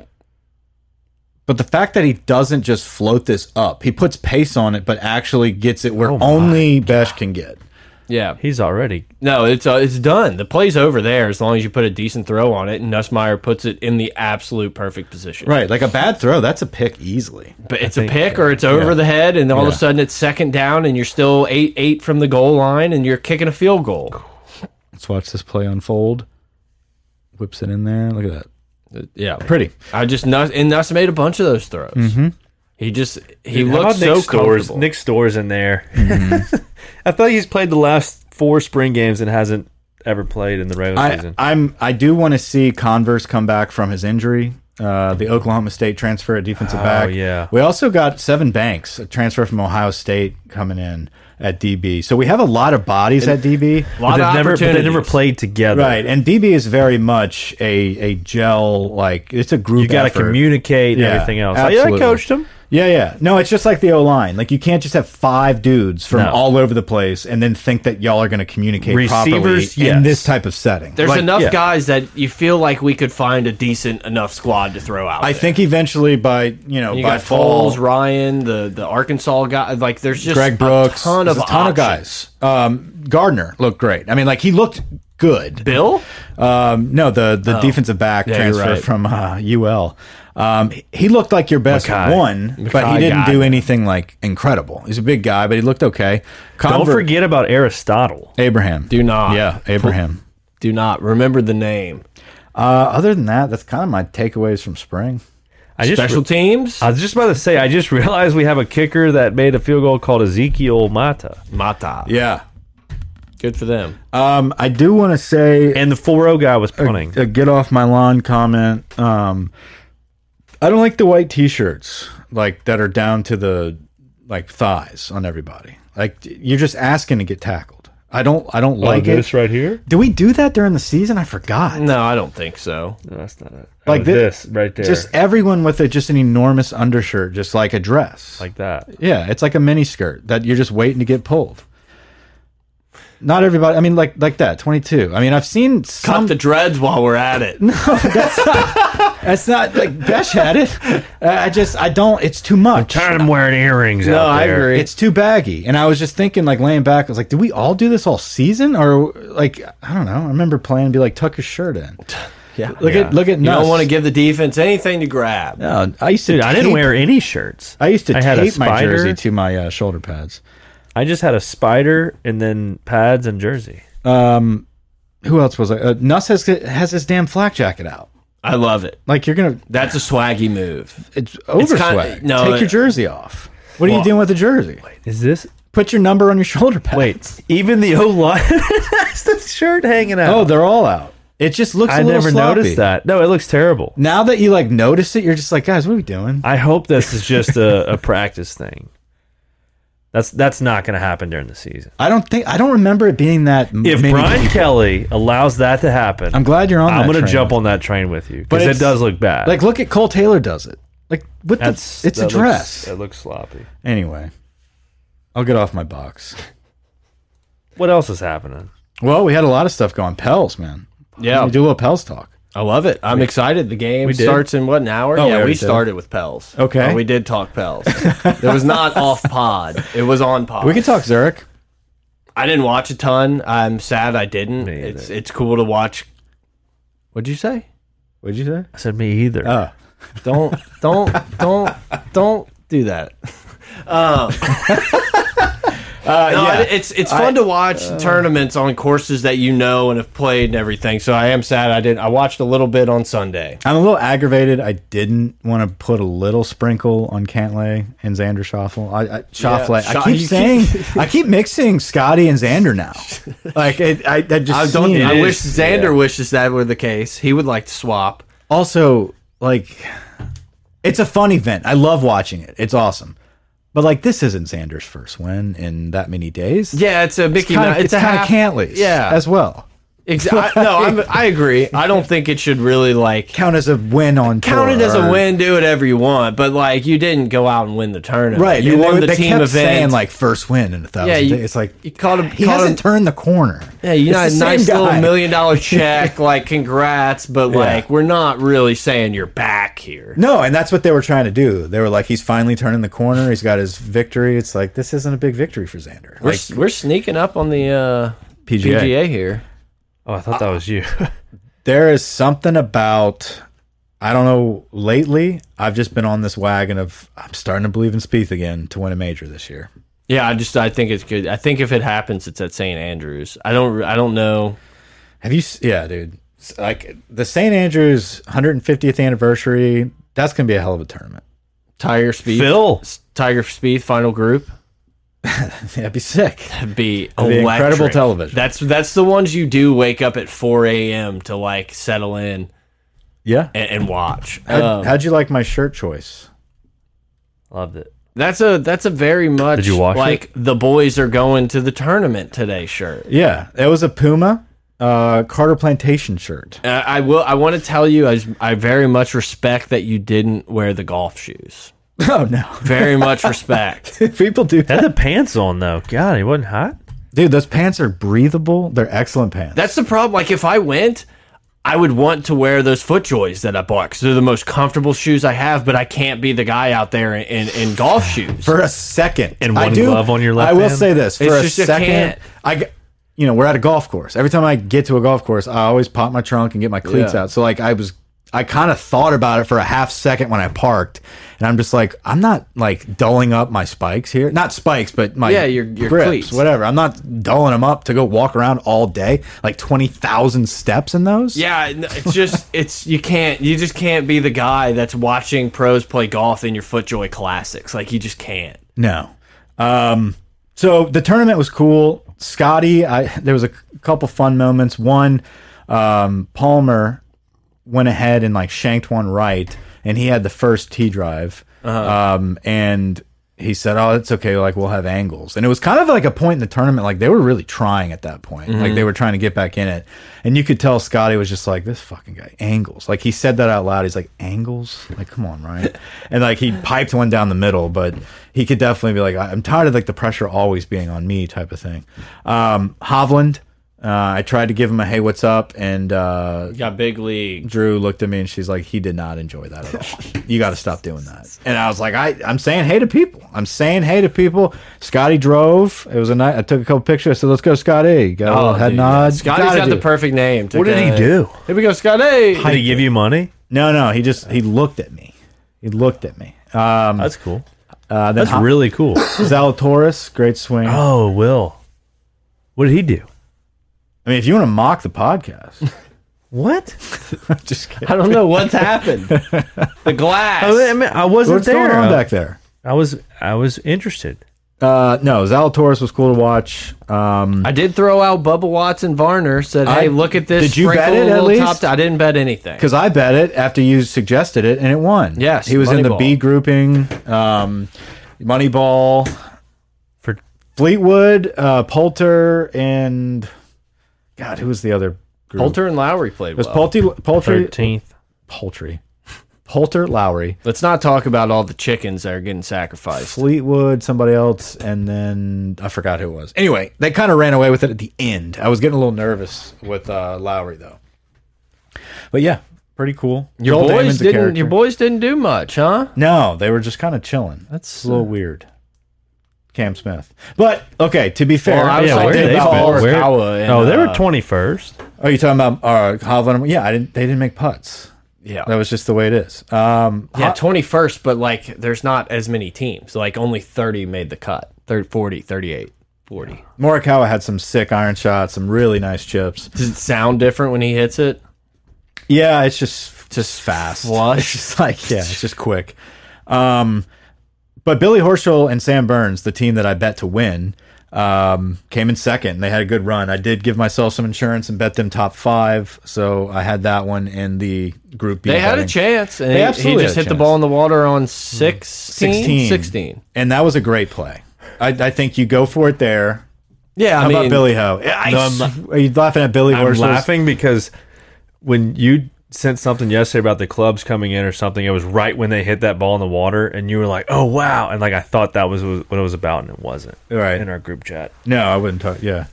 Speaker 4: But the fact that he doesn't just float this up, he puts pace on it, but actually gets it where
Speaker 2: Oh my
Speaker 4: only Besh can get.
Speaker 3: yeah.
Speaker 2: He's already
Speaker 3: No, it's uh, it's done. The play's over there as long as you put a decent throw on it, and Nussmeyer puts it in the absolute perfect position.
Speaker 4: Right, like a bad throw, that's a pick easily.
Speaker 3: But it's a pick or it's over the head, and all of
Speaker 4: Yeah.
Speaker 3: a sudden it's second down, and you're still eight eight from the goal line, and you're kicking a field goal.
Speaker 4: Let's watch this play unfold. Whips it in there. Look at that.
Speaker 3: Yeah,
Speaker 4: Pretty. Mm-hmm.
Speaker 3: I just Nuss and Nuss made a bunch of those throws. He just he
Speaker 2: How
Speaker 3: looked
Speaker 2: about
Speaker 3: so
Speaker 2: Nick Stores.
Speaker 3: comfortable.
Speaker 2: Nick Stores in there. I feel like he's played the last four spring games and hasn't ever played in the regular
Speaker 4: I,
Speaker 2: season.
Speaker 4: I'm I do want to see Converse come back from his injury. Uh, the Oklahoma State transfer at defensive back.
Speaker 2: yeah.
Speaker 4: We also got Seven Banks, a transfer from Ohio State, coming in at DB. So we have a lot of bodies at DB.
Speaker 3: a lot
Speaker 2: But
Speaker 3: of
Speaker 2: they've never, but they
Speaker 3: opportunities.
Speaker 2: never played together.
Speaker 4: Right, and DB is very much a a gel like it's a group.
Speaker 2: You got to
Speaker 4: effort.
Speaker 2: communicate and
Speaker 4: Yeah,
Speaker 2: everything else.
Speaker 4: absolutely.
Speaker 2: I coached him.
Speaker 4: Yeah, yeah. No, it's just like the O line. Like you can't just have five dudes from
Speaker 2: No.
Speaker 4: all over the place and then think that y'all are going to communicate properly
Speaker 2: Receivers,
Speaker 4: in
Speaker 2: yes.
Speaker 4: this type of setting.
Speaker 3: There's
Speaker 4: Like,
Speaker 3: enough
Speaker 2: yeah.
Speaker 3: guys that you feel like we could find a decent enough squad to throw out.
Speaker 4: I
Speaker 3: there.
Speaker 4: think eventually by you know
Speaker 3: You
Speaker 4: by
Speaker 3: got
Speaker 4: fall,
Speaker 3: Foles, Ryan, the the Arkansas guy. Like there's just
Speaker 4: Greg Brooks,
Speaker 3: a ton of
Speaker 4: there's a ton of
Speaker 3: options.
Speaker 4: guys. Um, Gardner looked great. I mean, like he looked good.
Speaker 3: Bill,
Speaker 4: Um, no, the the defensive back
Speaker 3: Oh. Yeah, you're
Speaker 4: transfer
Speaker 3: right.
Speaker 4: from uh, UL. Um, he looked like your best
Speaker 2: Mackay.
Speaker 4: one, but
Speaker 3: Mackay
Speaker 4: he didn't
Speaker 3: got
Speaker 4: do anything like incredible. He's a big guy, but he looked okay.
Speaker 2: Don't
Speaker 4: Convert-
Speaker 2: forget about Aristotle.
Speaker 4: Abraham.
Speaker 3: do not,
Speaker 4: yeah, Abraham.
Speaker 3: do not remember the name.
Speaker 4: Uh, other than that, that's kind of my takeaways from spring.
Speaker 2: I just
Speaker 3: Special teams,
Speaker 4: Uh,
Speaker 2: I was just about to say. I just realized we have a kicker that made a field goal called Ezekiel Mata,
Speaker 3: Mata.
Speaker 4: Yeah.
Speaker 3: Good for them.
Speaker 4: Um, I do want to say
Speaker 2: and the 4-0 guy was punting.
Speaker 4: a get off my lawn comment. Um, I don't like the white T-shirts like that are down to the like thighs on everybody. Like you're just asking to get tackled. I don't. I don't like it.
Speaker 2: right here.
Speaker 4: Do we do that during the season? I forgot.
Speaker 3: No, I don't think so.
Speaker 2: No, that's not it.
Speaker 4: Like
Speaker 2: Oh,
Speaker 4: thi-
Speaker 2: this, right there,
Speaker 4: Just everyone with a, just an enormous undershirt, just like a dress.
Speaker 2: like that.
Speaker 4: Yeah, it's like a mini skirt that you're just waiting to get pulled. Not everybody. I mean, like like that. Twenty two. I mean, I've seen
Speaker 3: Cut
Speaker 4: some.
Speaker 3: the dreads while we're at it.
Speaker 4: That's not like Besh had it. Uh, I just I don't. It's too much.
Speaker 2: Tired of him wearing earrings
Speaker 3: no,
Speaker 2: out
Speaker 3: I
Speaker 2: there.
Speaker 3: agree.
Speaker 4: It's too baggy. And I was just thinking, like laying back, I was like, do we all do this all season, or like I don't know. I remember playing and be like, tuck your shirt in.
Speaker 3: yeah.
Speaker 4: Look at look at.
Speaker 3: you don't want to give the defense anything to grab.
Speaker 4: I used to.
Speaker 2: Dude, I didn't
Speaker 4: tape-
Speaker 2: wear any shirts.
Speaker 4: I used to
Speaker 2: I had a
Speaker 4: tape my
Speaker 2: spider.
Speaker 4: jersey to my uh, shoulder pads.
Speaker 2: I just had a spider and then pads and jersey.
Speaker 4: Who else was I? Uh, Nuss has has his damn flak jacket out.
Speaker 3: I love it.
Speaker 4: Like you're gonna
Speaker 3: That's a swaggy move.
Speaker 4: It's over
Speaker 3: kinda-
Speaker 4: swag.
Speaker 3: no,
Speaker 4: Take
Speaker 3: it-
Speaker 4: your jersey off. What are you
Speaker 3: Well-
Speaker 4: doing with the jersey?
Speaker 2: Is this
Speaker 4: Put your number on your shoulder pad.
Speaker 2: wait? Even the O line has the shirt hanging out.
Speaker 4: Oh, they're all out. It just looks. I
Speaker 2: I
Speaker 4: little
Speaker 2: never
Speaker 4: sloppy.
Speaker 2: noticed that. No, it looks terrible.
Speaker 4: Now that you like notice it, you're just like, guys, what are we doing?
Speaker 2: I hope this is just a, a practice thing. That's that's not going to happen during the season.
Speaker 4: I don't think I don't remember it being that. m-
Speaker 2: If
Speaker 4: many
Speaker 2: Brian
Speaker 4: people.
Speaker 2: Kelly allows that to happen,
Speaker 4: I'm glad you're on.
Speaker 2: I'm
Speaker 4: that
Speaker 2: going to
Speaker 4: train.
Speaker 2: jump on that train with you
Speaker 4: But
Speaker 2: because it
Speaker 4: it's-
Speaker 2: does look bad.
Speaker 4: Like, look at Cole Taylor does it. Like, what? The,
Speaker 2: that's
Speaker 4: it's a
Speaker 2: that looks-
Speaker 4: dress.
Speaker 2: That looks sloppy.
Speaker 4: anyway, I'll get off my box.
Speaker 2: What else is happening?
Speaker 4: Well, we had a lot of stuff going. Pels, man.
Speaker 3: Yeah.
Speaker 4: we do a little Pels talk.
Speaker 3: I love it. I'm excited. The game
Speaker 4: did?
Speaker 3: starts in what an hour?
Speaker 4: Oh, we
Speaker 3: yeah, we
Speaker 4: already did.
Speaker 3: started with Pels.
Speaker 4: Okay.
Speaker 3: Oh, we did talk Pels. it was not off pod. It was on pod.
Speaker 4: We can talk Zurich.
Speaker 3: I didn't watch a ton. I'm sad I didn't.
Speaker 2: either.
Speaker 3: It's it's cool to watch. What'd you say?
Speaker 4: What'd you say?
Speaker 2: I said me either.
Speaker 4: Uh,
Speaker 3: Don't don't don't don't do that. Um,
Speaker 4: uh,
Speaker 3: No,
Speaker 4: yeah. Uh.
Speaker 3: it- it's it's fun to watch tournaments on courses that you know and have played and everything. So I am sad I didn't. I watched a little bit on Sunday.
Speaker 4: I'm a little aggravated. I didn't want to put a little sprinkle on Cantlay and Xander Shoffle. I, I, Schauffele.
Speaker 3: Scha-
Speaker 4: I keep
Speaker 3: you
Speaker 4: saying, I keep mixing Scotty and Xander now. Like it, I, that just
Speaker 3: I don't.
Speaker 4: seems-
Speaker 3: I wish Xander wishes that were the case. He would like to swap.
Speaker 4: Also, like, it's a fun event. I love watching it. It's awesome. But like, this isn't Xander's first win in that many days.
Speaker 3: Yeah, it's a Mickey.
Speaker 4: Kinda-
Speaker 3: Mouse-
Speaker 4: it's
Speaker 3: a
Speaker 4: kind of
Speaker 3: half-
Speaker 4: Cantley's.
Speaker 3: Yeah,
Speaker 4: as well.
Speaker 3: Exactly. No, I'm, I agree. I don't think it should really like
Speaker 4: Count as a win on
Speaker 3: count it
Speaker 4: tour,
Speaker 3: as a
Speaker 4: or-
Speaker 3: win. Do whatever you want, but like you didn't go out and win the tournament.
Speaker 4: right?
Speaker 3: You
Speaker 4: and
Speaker 3: won
Speaker 4: they,
Speaker 3: the
Speaker 4: they
Speaker 3: team
Speaker 4: kept
Speaker 3: event.
Speaker 4: saying like first win in a thousand.
Speaker 3: yeah, you,
Speaker 4: days. it's like
Speaker 3: you called him.
Speaker 4: he
Speaker 3: called
Speaker 4: hasn't
Speaker 3: him-
Speaker 4: turned the corner.
Speaker 3: Yeah, you
Speaker 4: It's
Speaker 3: got
Speaker 4: the
Speaker 3: a
Speaker 4: same
Speaker 3: nice little
Speaker 4: guy.
Speaker 3: million dollar check. Like, congrats, but like, we're not really saying you're back here.
Speaker 4: No, and that's what they were trying to do. They were like, he's finally turning the corner. He's got his victory. It's like this isn't a big victory for Xander.
Speaker 3: We're,
Speaker 4: Like,
Speaker 3: s- we're sneaking up on the uh,
Speaker 4: PGA.
Speaker 3: PGA. here.
Speaker 2: Oh, I thought that was you.
Speaker 4: there is something about I don't know. Lately, I've just been on this wagon of I'm starting to believe in Spieth again to win a major this year.
Speaker 3: Yeah, I just I think it's good. I think if it happens, it's at St. Andrews. I don't re- I don't know.
Speaker 4: Have you? s- Yeah, dude. S- Like the St. Andrews 150th anniversary. That's gonna be a hell of a tournament.
Speaker 3: Tiger Speed,
Speaker 2: Phil.
Speaker 3: Tiger Speed final group
Speaker 4: That'd be sick.
Speaker 3: be
Speaker 4: be
Speaker 3: electric.
Speaker 4: incredible television.
Speaker 3: That's that's the ones you do wake up at 4 a.m. to like settle in
Speaker 4: Yeah.
Speaker 3: and, and watch.
Speaker 4: How'd,
Speaker 3: Um,
Speaker 4: how'd you like my shirt choice?
Speaker 2: Loved it.
Speaker 3: that's a that's a very much
Speaker 2: you watch
Speaker 3: like the boys are going to the tournament today shirt.
Speaker 4: Yeah, it was a Puma uh, Carter Plantation shirt.
Speaker 3: Uh, I will. I want to tell you, I, I very much respect that you didn't wear the golf shoes.
Speaker 4: Oh no,
Speaker 3: Very much respect.
Speaker 4: people do that,
Speaker 2: Had the pants on though. God, he wasn't hot.
Speaker 4: dude. Those pants are breathable. They're excellent pants.
Speaker 3: That's the problem. Like if I went, I would want to wear those FootJoys that I bought because they're the most comfortable shoes I have. But I can't be the guy out there in, in, in golf shoes.
Speaker 4: for a second.
Speaker 2: And
Speaker 4: I
Speaker 2: one glove on your left
Speaker 4: I will
Speaker 2: hand?
Speaker 4: say this for
Speaker 3: It's
Speaker 4: a
Speaker 3: just you
Speaker 4: second.
Speaker 3: can't.
Speaker 4: I, g- you know, we're at a golf course. Every time I get to a golf course, I always pop my trunk and get my cleats
Speaker 3: Yeah.
Speaker 4: out. So like I was, I kind of thought about it for a half second when I parked, and I'm just like, I'm not like dulling up my spikes here. Not spikes, but my
Speaker 3: Yeah, your- your
Speaker 4: grips,
Speaker 3: cleats.
Speaker 4: whatever. I'm not dulling them up to go walk around all day, like twenty thousand steps in those.
Speaker 3: Yeah, n- it's just it's you can't you just can't be the guy that's watching pros play golf in your FootJoy classics. Like you just can't.
Speaker 4: No. Um, so the tournament was cool. Scotty, I there was a c- couple fun moments. One, um, Palmer went ahead and like shanked one right, and he had the first tee drive. Um, and he said, "Oh, it's okay. Like we'll have angles." And it was kind of like a point in the tournament. Like they were really trying at that point. Like they were trying to get back in it, and you could tell Scotty was just like, "This fucking guy angles." Like he said that out loud. He's like, "Angles? Like come on, right?" and like he piped one down the middle, but he could definitely be like, "I- "I'm tired of like the pressure always being on me," type of thing. Um, Hovland. Uh, I tried to give him a hey, what's up, and uh,
Speaker 3: Got big league.
Speaker 4: Drew looked at me and she's like, he did not enjoy that at all. you got to stop doing that. And I was like, I, I'm saying hey to people. I'm saying hey to people. Scotty drove. It was a night. I took a couple pictures. I said, let's go, Scotty. Got a little head
Speaker 3: dude,
Speaker 4: nod.
Speaker 3: Scotty's
Speaker 4: Gotta
Speaker 3: got
Speaker 4: do
Speaker 3: the
Speaker 4: it.
Speaker 3: perfect name. to
Speaker 4: What did he
Speaker 3: go-
Speaker 4: do?
Speaker 3: Here we go, Scotty.
Speaker 2: Did he give you money?
Speaker 4: No, no. He just he looked at me. He looked at me. Um,
Speaker 2: That's cool.
Speaker 4: uh, then
Speaker 2: That's
Speaker 4: Ho-
Speaker 2: really cool.
Speaker 4: Zalatoris, great swing.
Speaker 2: Oh, Will. What did he do?
Speaker 4: I mean, if you want to mock the podcast,
Speaker 2: What?
Speaker 4: just kidding.
Speaker 3: I don't know what's happened. The glass.
Speaker 2: I, mean, I wasn't
Speaker 4: What's
Speaker 2: there.
Speaker 4: going on
Speaker 2: I-
Speaker 4: back there?
Speaker 2: I was I was interested.
Speaker 4: Uh, no, Zalatoris was cool to watch. Um,
Speaker 3: I did throw out Bubba Watson Varner. Said,
Speaker 4: I-
Speaker 3: "Hey, look at this."
Speaker 4: Did you
Speaker 3: sprinkle
Speaker 4: bet it
Speaker 3: a
Speaker 4: at
Speaker 3: little
Speaker 4: least?
Speaker 3: Top I didn't bet anything.
Speaker 4: Because I bet it after you suggested it, and it won.
Speaker 3: Yes,
Speaker 4: he was in the
Speaker 3: Moneyball.
Speaker 4: B grouping. Um, Moneyball,
Speaker 2: For
Speaker 4: Fleetwood, uh, Poulter, and God, who was the other group?
Speaker 3: Poulter and Lowry played
Speaker 4: It was
Speaker 3: well.
Speaker 4: Poulty, Poultry,
Speaker 2: thirteenth.
Speaker 4: Poultry, Poulter, Lowry,
Speaker 3: Let's not talk about all the chickens that are getting sacrificed.
Speaker 4: Fleetwood, somebody else, and then I forgot who it was. Anyway, they kind of ran away with it at the end. I was getting a little nervous with uh, Lowry though. But yeah, pretty cool.
Speaker 3: Your
Speaker 4: Joel
Speaker 3: boys
Speaker 4: Damon's a
Speaker 3: didn't.
Speaker 4: character.
Speaker 3: Your boys didn't do much, huh?
Speaker 4: No, they were just kind of chilling. That's a little weird. Cam Smith, but okay. To be fair,
Speaker 3: Well, I was
Speaker 2: Yeah,
Speaker 3: talking
Speaker 2: where did they
Speaker 3: about
Speaker 2: fall?
Speaker 3: Morikawa and,
Speaker 2: oh, they were
Speaker 3: uh,
Speaker 2: twenty first.
Speaker 4: are you talking about uh, Hovland? Yeah, I didn't. They didn't make putts.
Speaker 3: Yeah.
Speaker 4: That was just the way it is. Um,
Speaker 3: Yeah, twenty first, but like there's not as many teams. Like only thirty made the cut. 30, 40, 38, 40.
Speaker 4: Morikawa had some sick iron shots, some really nice chips.
Speaker 3: Does it sound different when he hits it?
Speaker 4: Yeah, it's just just fast.
Speaker 3: flush.
Speaker 4: It's just like yeah, it's just quick. Um, but Billy Horschel and Sam Burns, the team that I bet to win, um, came in second. They had a good run. I did give myself some insurance and bet them top five, so I had that one in the group. B
Speaker 3: They had a
Speaker 4: betting.
Speaker 3: chance, and
Speaker 4: They
Speaker 3: he- he,
Speaker 4: absolutely
Speaker 3: just
Speaker 4: had a
Speaker 3: hit the
Speaker 4: chance. Hmm.
Speaker 3: ball in the water on 16? 16.
Speaker 4: 16. And that was a great play. I, I think you go for it there.
Speaker 3: Yeah, I
Speaker 4: How
Speaker 3: mean,
Speaker 4: about Billy Ho? I
Speaker 2: No, I'm
Speaker 4: s- are you laughing at Billy?
Speaker 2: I'm
Speaker 4: Horschel's-
Speaker 2: laughing because when you sent something yesterday about the clubs coming in or something, it was right when they hit that ball in the water, and you were like, "Oh wow!" And like I thought that was what it was about, and it wasn't.
Speaker 4: Right.
Speaker 2: in our group chat.
Speaker 4: No, I wouldn't talk. Yeah.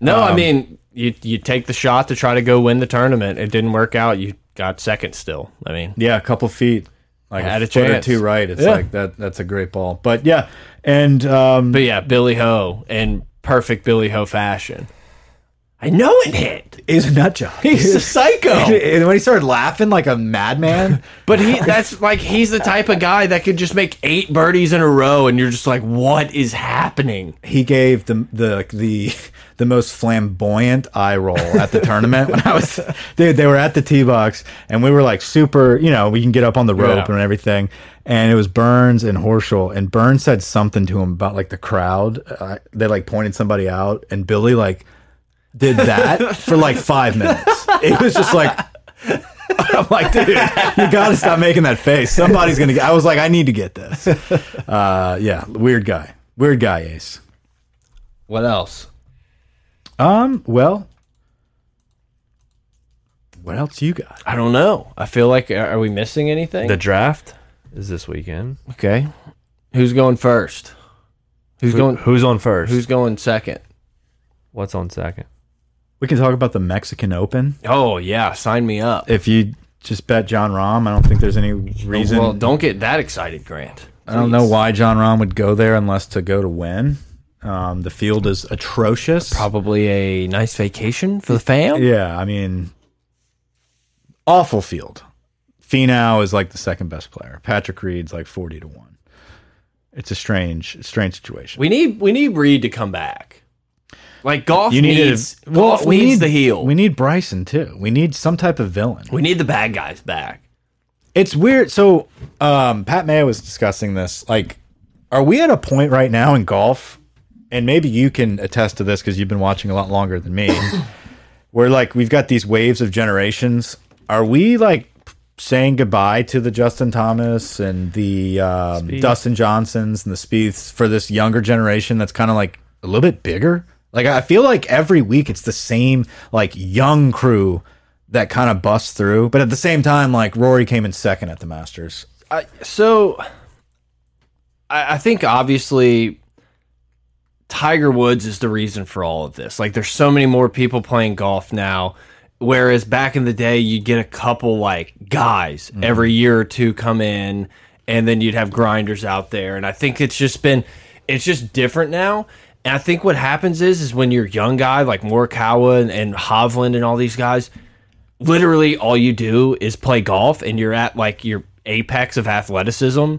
Speaker 3: No,
Speaker 4: Um,
Speaker 3: I mean, you you take the shot to try to go win the tournament. It didn't work out. You got second still. I mean,
Speaker 4: Yeah, a couple feet, like
Speaker 3: Had a
Speaker 4: foot or
Speaker 3: chance.
Speaker 4: two right. It's
Speaker 3: Yeah.
Speaker 4: like that. That's a great ball. But yeah, and um,
Speaker 3: but yeah, Billy Ho in perfect Billy Ho fashion. I know it hit.
Speaker 4: he's a nut job.
Speaker 3: He's a psycho.
Speaker 4: and when he started laughing like a madman,
Speaker 3: But he that's like he's the type of guy that could just make eight birdies in a row and you're just like, what is happening?
Speaker 4: he gave the the the the most flamboyant eye roll at the tournament when I was dude, they were at the tee box and we were like super, you know, we can get up on the rope
Speaker 3: Yeah.
Speaker 4: and everything. And it was Burns and Horschel and Burns said something to him about like the crowd. Uh, they like pointed somebody out and Billy like did that for like 5 minutes. It was just like I'm like, dude, you gotta stop making that face. Somebody's gonna get. I was like, I need to get this. Uh, yeah, weird guy, weird guy, Ace.
Speaker 3: What else?
Speaker 4: Um, well, what else you got?
Speaker 3: I don't know. I feel like uh, are are we missing anything?
Speaker 2: The draft is this weekend.
Speaker 3: okay. Who's going first? Who's
Speaker 2: Who-
Speaker 3: going
Speaker 2: who's on first?
Speaker 3: who's going second?
Speaker 2: What's on second?
Speaker 4: We can talk about the Mexican Open.
Speaker 3: Oh yeah, sign me up.
Speaker 4: If you just bet John Rahm, I don't think there's any reason.
Speaker 3: Well, don't get that excited, Grant.
Speaker 4: I don't know why John Rahm would go there unless to go to win. Um, the field is atrocious.
Speaker 3: Probably a nice vacation for the fam.
Speaker 4: Yeah, I mean, awful field. Finau is like the second best player. Patrick Reed's like forty to one. It's a strange, strange situation.
Speaker 3: We need we need Reed to come back. Like golf
Speaker 4: you need
Speaker 3: needs
Speaker 4: a,
Speaker 3: golf
Speaker 4: we
Speaker 3: needs
Speaker 4: need
Speaker 3: the heel.
Speaker 4: We
Speaker 3: We,
Speaker 4: need Bryson too. We need some type of villain.
Speaker 3: need the bad guys back.
Speaker 4: It's weird. So, um, Pat Mayo was discussing this. Like, are we at a point right now in golf? And maybe you can attest to this because you've been watching a lot longer than me. where like we've got these waves of generations. Are we like saying goodbye to the Justin Thomas and the um, Dustin Johnsons and the Spieths for this younger generation that's kind of like a little bit bigger? Like I feel like every week it's the same like young crew that kind of busts through, but at the same time, like Rory came in second at the Masters.
Speaker 3: So I, I think obviously Tiger Woods is the reason for all of this. Like there's so many more people playing golf now. Whereas back in the day you'd get a couple like guys every year or two come in and then you'd have grinders out there. And I think it's just been it's just different now. And I think what happens is is when you're a young guy like Morikawa and, and Hovland and all these guys, literally all you do is play golf and you're at like your apex of athleticism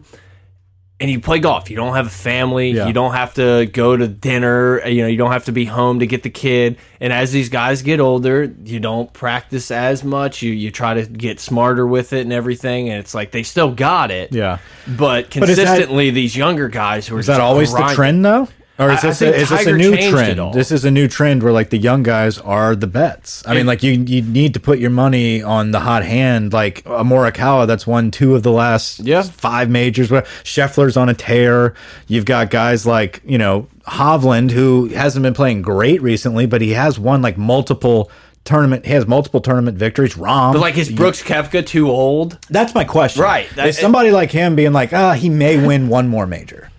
Speaker 3: and you play golf. You don't have a family.
Speaker 4: Yeah.
Speaker 3: You don't have to go to dinner. You know, you don't have to be home to get the kid. And as these guys get older, you don't practice as much. You you try to get smarter with it and everything. And it's like they still got it.
Speaker 4: Yeah,
Speaker 3: But
Speaker 4: is that-
Speaker 3: consistently, these younger guys who are
Speaker 4: Is that always the trend though? Or is
Speaker 3: I- I
Speaker 4: this,
Speaker 3: think
Speaker 4: a, is this a
Speaker 3: Tiger
Speaker 4: new
Speaker 3: changed it all.
Speaker 4: trend? This is a new trend where like the young guys are the bets. I mean, like you you need to put your money on the hot hand, like a Morikawa that's won two of the last
Speaker 3: Yeah.
Speaker 4: five majors. whatever. Scheffler's on a tear. You've got guys like you know Hovland who hasn't been playing great recently, but he has won like multiple tournament. He has multiple tournament victories. Rom,
Speaker 3: But like, is Brooks Kepka too old?
Speaker 4: that's my question.
Speaker 3: Right.
Speaker 4: Is somebody like him being like, ah, he may win one more major.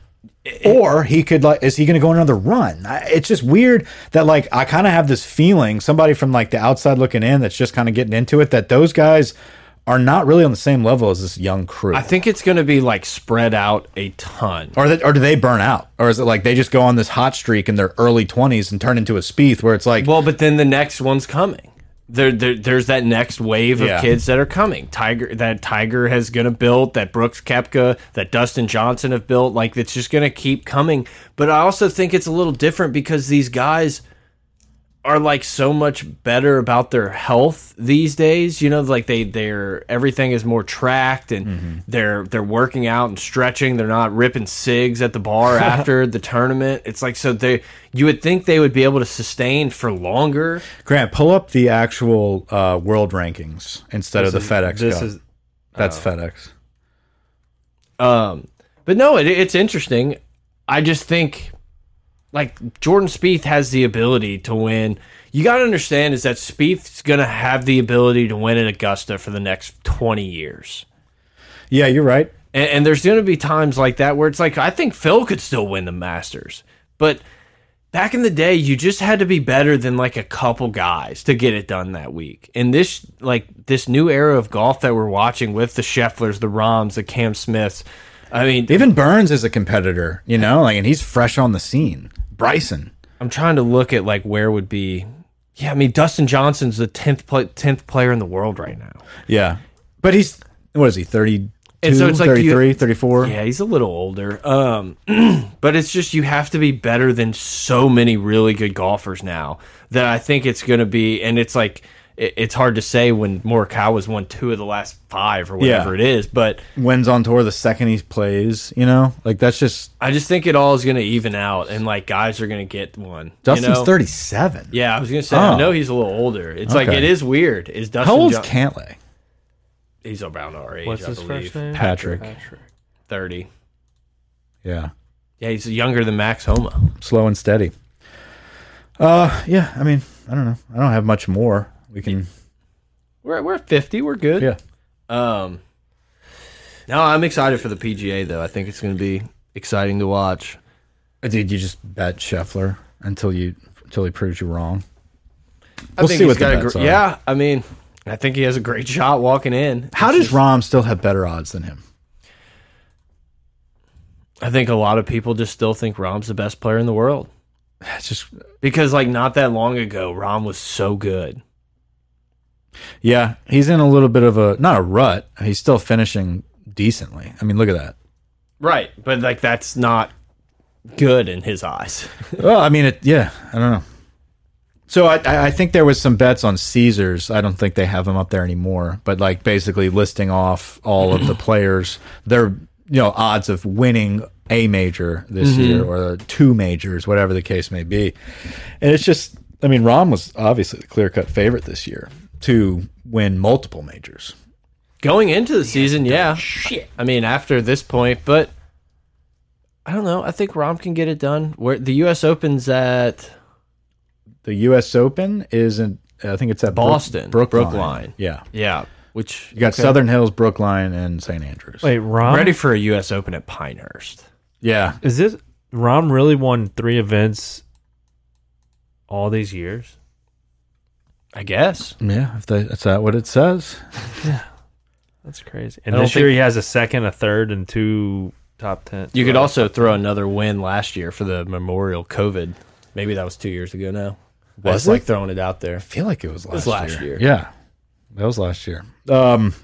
Speaker 4: Or he could like, is he going to go another run? I, it's just weird that like I kind of have this feeling, somebody from like the outside looking in, that's just kind of getting into it, that those guys are not really on the same level as this young crew,
Speaker 3: I think it's going to be like spread out a ton.
Speaker 4: or that, or do they burn out, or is it like they just go on this hot streak in their early twenties and turn into a Spieth, where it's like,
Speaker 3: Well, but then the next one's coming. There, there there's that next wave of
Speaker 4: Yeah.
Speaker 3: kids that are coming. Tiger that Tiger has going to build, that Brooks Kepka, that Dustin Johnson have built, like it's just going to keep coming. But I also think it's a little different because these guys are like so much better about their health these days. You know, like they they're everything is more tracked and they're they're working out and stretching. They're not ripping cigs at the bar after the tournament. It's like so they you would think they would be able to sustain for longer.
Speaker 4: Grant, pull up the actual uh, world rankings instead of the FedEx.
Speaker 2: This
Speaker 4: Cup.
Speaker 2: is uh,
Speaker 4: that's FedEx.
Speaker 3: Um, but no, it, it's interesting. I just think like Jordan Spieth has the ability to win. You got to understand is that Spieth's going to have the ability to win at Augusta for the next 20 years.
Speaker 4: Yeah, you're right.
Speaker 3: And, and there's going to be times like that where it's like, I think Phil could still win the Masters. But back in the day, you just had to be better than like a couple guys to get it done that week. And this, like, this new era of golf that we're watching with the Schefflers, the Roms, the Cam Smiths. I mean,
Speaker 4: Even Burns is a competitor, you know, like, and he's fresh on the scene. Bryson.
Speaker 3: I'm trying to look at like where would be. Yeah, I mean, Dustin Johnson's the 10th pla 10th player in the world right now.
Speaker 4: Yeah. But he's, what is he, 32,
Speaker 3: And so it's like you-
Speaker 4: 33, 34?
Speaker 3: Yeah, he's a little older. Um, but it's just you have to be better than so many really good golfers now that I think it's going to be. And it's like it, it's hard to say when Morikawa's won two of the last five or whatever it is. But
Speaker 4: Wins on tour the second he plays, you know? Like, that's just,
Speaker 3: I just think it all is going to even out, and like guys are going to get one.
Speaker 4: Dustin's
Speaker 3: you know?
Speaker 4: 37.
Speaker 3: Yeah, I was going to say
Speaker 4: Oh.
Speaker 3: I know he's a little older. It's like
Speaker 4: Okay.
Speaker 3: it is weird. Is Dustin?
Speaker 4: How old's
Speaker 3: Jo-
Speaker 4: Cantley?
Speaker 3: he's around our age.
Speaker 2: What's
Speaker 3: I
Speaker 2: his
Speaker 3: believe.
Speaker 2: first name?
Speaker 4: Patrick.
Speaker 3: Thirty.
Speaker 4: Yeah.
Speaker 3: Yeah, he's younger than Max Homa.
Speaker 4: Slow and steady. Uh, yeah. I mean, I don't know. I don't have much more. We can,
Speaker 3: We're we're fifty. We're good.
Speaker 4: yeah.
Speaker 3: Um. No, I'm excited for the PGA though. I think it's going to be exciting to watch.
Speaker 4: Dude, you just bet Scheffler until you, until he proves you wrong.
Speaker 3: I
Speaker 4: We'll
Speaker 3: think
Speaker 4: see
Speaker 3: he's
Speaker 4: what the
Speaker 3: got a
Speaker 4: bets
Speaker 3: gr-
Speaker 4: are.
Speaker 3: Yeah, I mean, I think he has a great shot walking in.
Speaker 4: How does Rom still have better odds than him?
Speaker 3: I think a lot of people just still think Rom's the best player in the world
Speaker 4: That's just
Speaker 3: because like not that long ago, Rom was so good.
Speaker 4: yeah. He's in a little bit of a not a rut. He's still finishing decently. I mean, look at that.
Speaker 3: Right, but like that's not good in his eyes.
Speaker 4: well, I mean, it, yeah. I don't know. So I- I, I think there was some bets on Caesars. I don't think they have him up there anymore. But like basically listing off all of the players, their you know odds of winning a major this year or two majors, whatever the case may be. And it's just, I mean, Rom was obviously the clear cut favorite this year to win multiple majors.
Speaker 3: Going into the season, yeah. Shit. I mean, after this point, but I don't know. I think Rom can get it done. Where the U.S. Opens at
Speaker 4: The U.S. Open isn't. I think it's at Brook-
Speaker 3: Boston,
Speaker 4: Brookline.
Speaker 3: Brookline.
Speaker 4: Yeah,
Speaker 3: yeah, which
Speaker 4: you got Southern Hills, Brookline, and St. Andrews.
Speaker 2: Wait, Rom.
Speaker 3: ready for a U.S. Open at Pinehurst.
Speaker 4: Yeah,
Speaker 2: Is this Rom really won three events all these years?
Speaker 3: I guess.
Speaker 4: Yeah, if they, that's that what it says.
Speaker 2: That's crazy. And
Speaker 3: I don't
Speaker 2: this year
Speaker 3: think-
Speaker 2: he has a second, a third, and two top ten.
Speaker 3: You could also throw another win last year for the Memorial COVID. Maybe that was two years ago now. I
Speaker 4: Was
Speaker 3: just like
Speaker 4: it?
Speaker 3: throwing it out there.
Speaker 4: I feel like it was last,
Speaker 3: was last year.
Speaker 4: Yeah, that was last year. Um,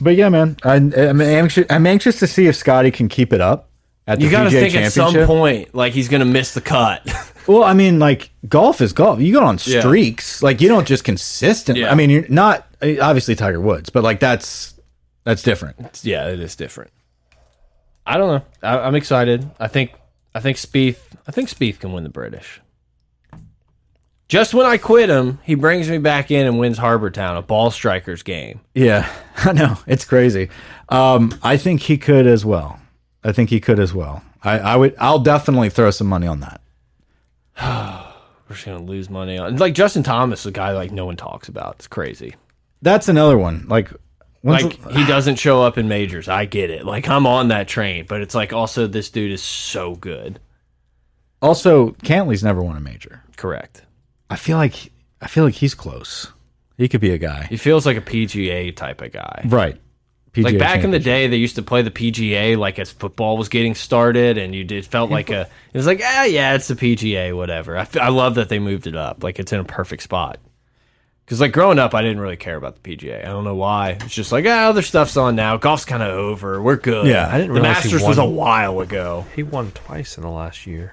Speaker 4: but yeah, man, I, I'm anxious. I'm anxious to see if Scotty can keep it up at the
Speaker 3: You got to
Speaker 4: PGA
Speaker 3: think at some
Speaker 4: Championship.
Speaker 3: point, like he's going to miss the cut.
Speaker 4: Well, I mean, like golf is golf. You go on
Speaker 3: Yeah.
Speaker 4: streaks. Like you don't just consistently.
Speaker 3: Yeah.
Speaker 4: I mean, you're not I- obviously Tiger Woods, but like that's that's different.
Speaker 3: yeah, it is different. I don't know. I, I'm excited. I think I think Spieth. I think Spieth can win the British. Just when I quit him, he brings me back in and wins Harbortown, a ball strikers game.
Speaker 4: Yeah, I know it's crazy. Um, I think he could as well. I think he could as well. I, I would. I'll definitely throw some money on that.
Speaker 3: We're just gonna lose money on like Justin Thomas, the guy like no one talks about. It's crazy.
Speaker 4: That's another one. Like, when's the-
Speaker 3: Like he doesn't show up in majors. I get it. Like I'm on that train, but it's like also this dude is so good.
Speaker 4: Also, Cantley's never won a major.
Speaker 3: Correct.
Speaker 4: I feel like I feel like he's close. He could be a guy.
Speaker 3: He feels like a PGA type of guy.
Speaker 4: Right. PGA
Speaker 3: like back in the
Speaker 4: champion.
Speaker 3: day they used to play the pga like as football was getting started and you did felt like a it was like ah yeah it's the pga whatever i, f- I love that they moved it up like it's in a perfect spot because like growing up i didn't really care about the pga i don't know why it's just like ah other stuff's on now golf's kind of over we're good
Speaker 4: Yeah, I didn't
Speaker 3: the
Speaker 2: realize he
Speaker 3: masters was a
Speaker 2: won.
Speaker 3: while ago
Speaker 2: he won twice in the last year.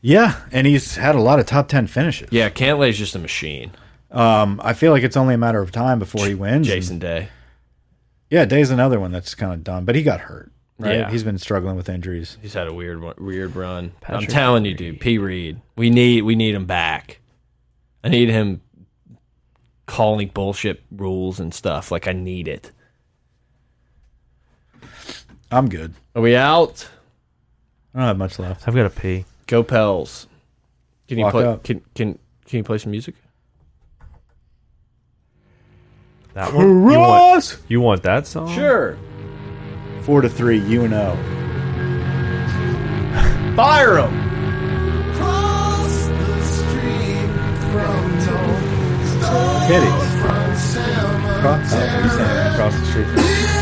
Speaker 4: Yeah, and he's had a lot of top 10 finishes.
Speaker 3: yeah cantley's just a machine
Speaker 4: Um, I feel like it's only a matter of time before he wins.
Speaker 3: jason day
Speaker 4: Yeah, Day's another one that's kind of done, but he got hurt. Right?
Speaker 3: Yeah.
Speaker 4: He's been struggling with injuries.
Speaker 3: he's had a weird one- weird run i'm
Speaker 2: Patrick
Speaker 3: telling you dude p reed we need we need him back i need him calling bullshit rules and stuff like i need it
Speaker 4: I'm good.
Speaker 3: are we out
Speaker 4: I don't have much left.
Speaker 2: I've got to pee.
Speaker 3: go pels Can you
Speaker 4: Walk
Speaker 3: play?
Speaker 4: up.
Speaker 3: Can can can you play some music?
Speaker 2: That one. You want, you want that song?
Speaker 3: Sure.
Speaker 4: Four to three, UNO. Fire 'em.
Speaker 1: Cross the street from
Speaker 4: Kitties. Cross, oh, you saying across the street.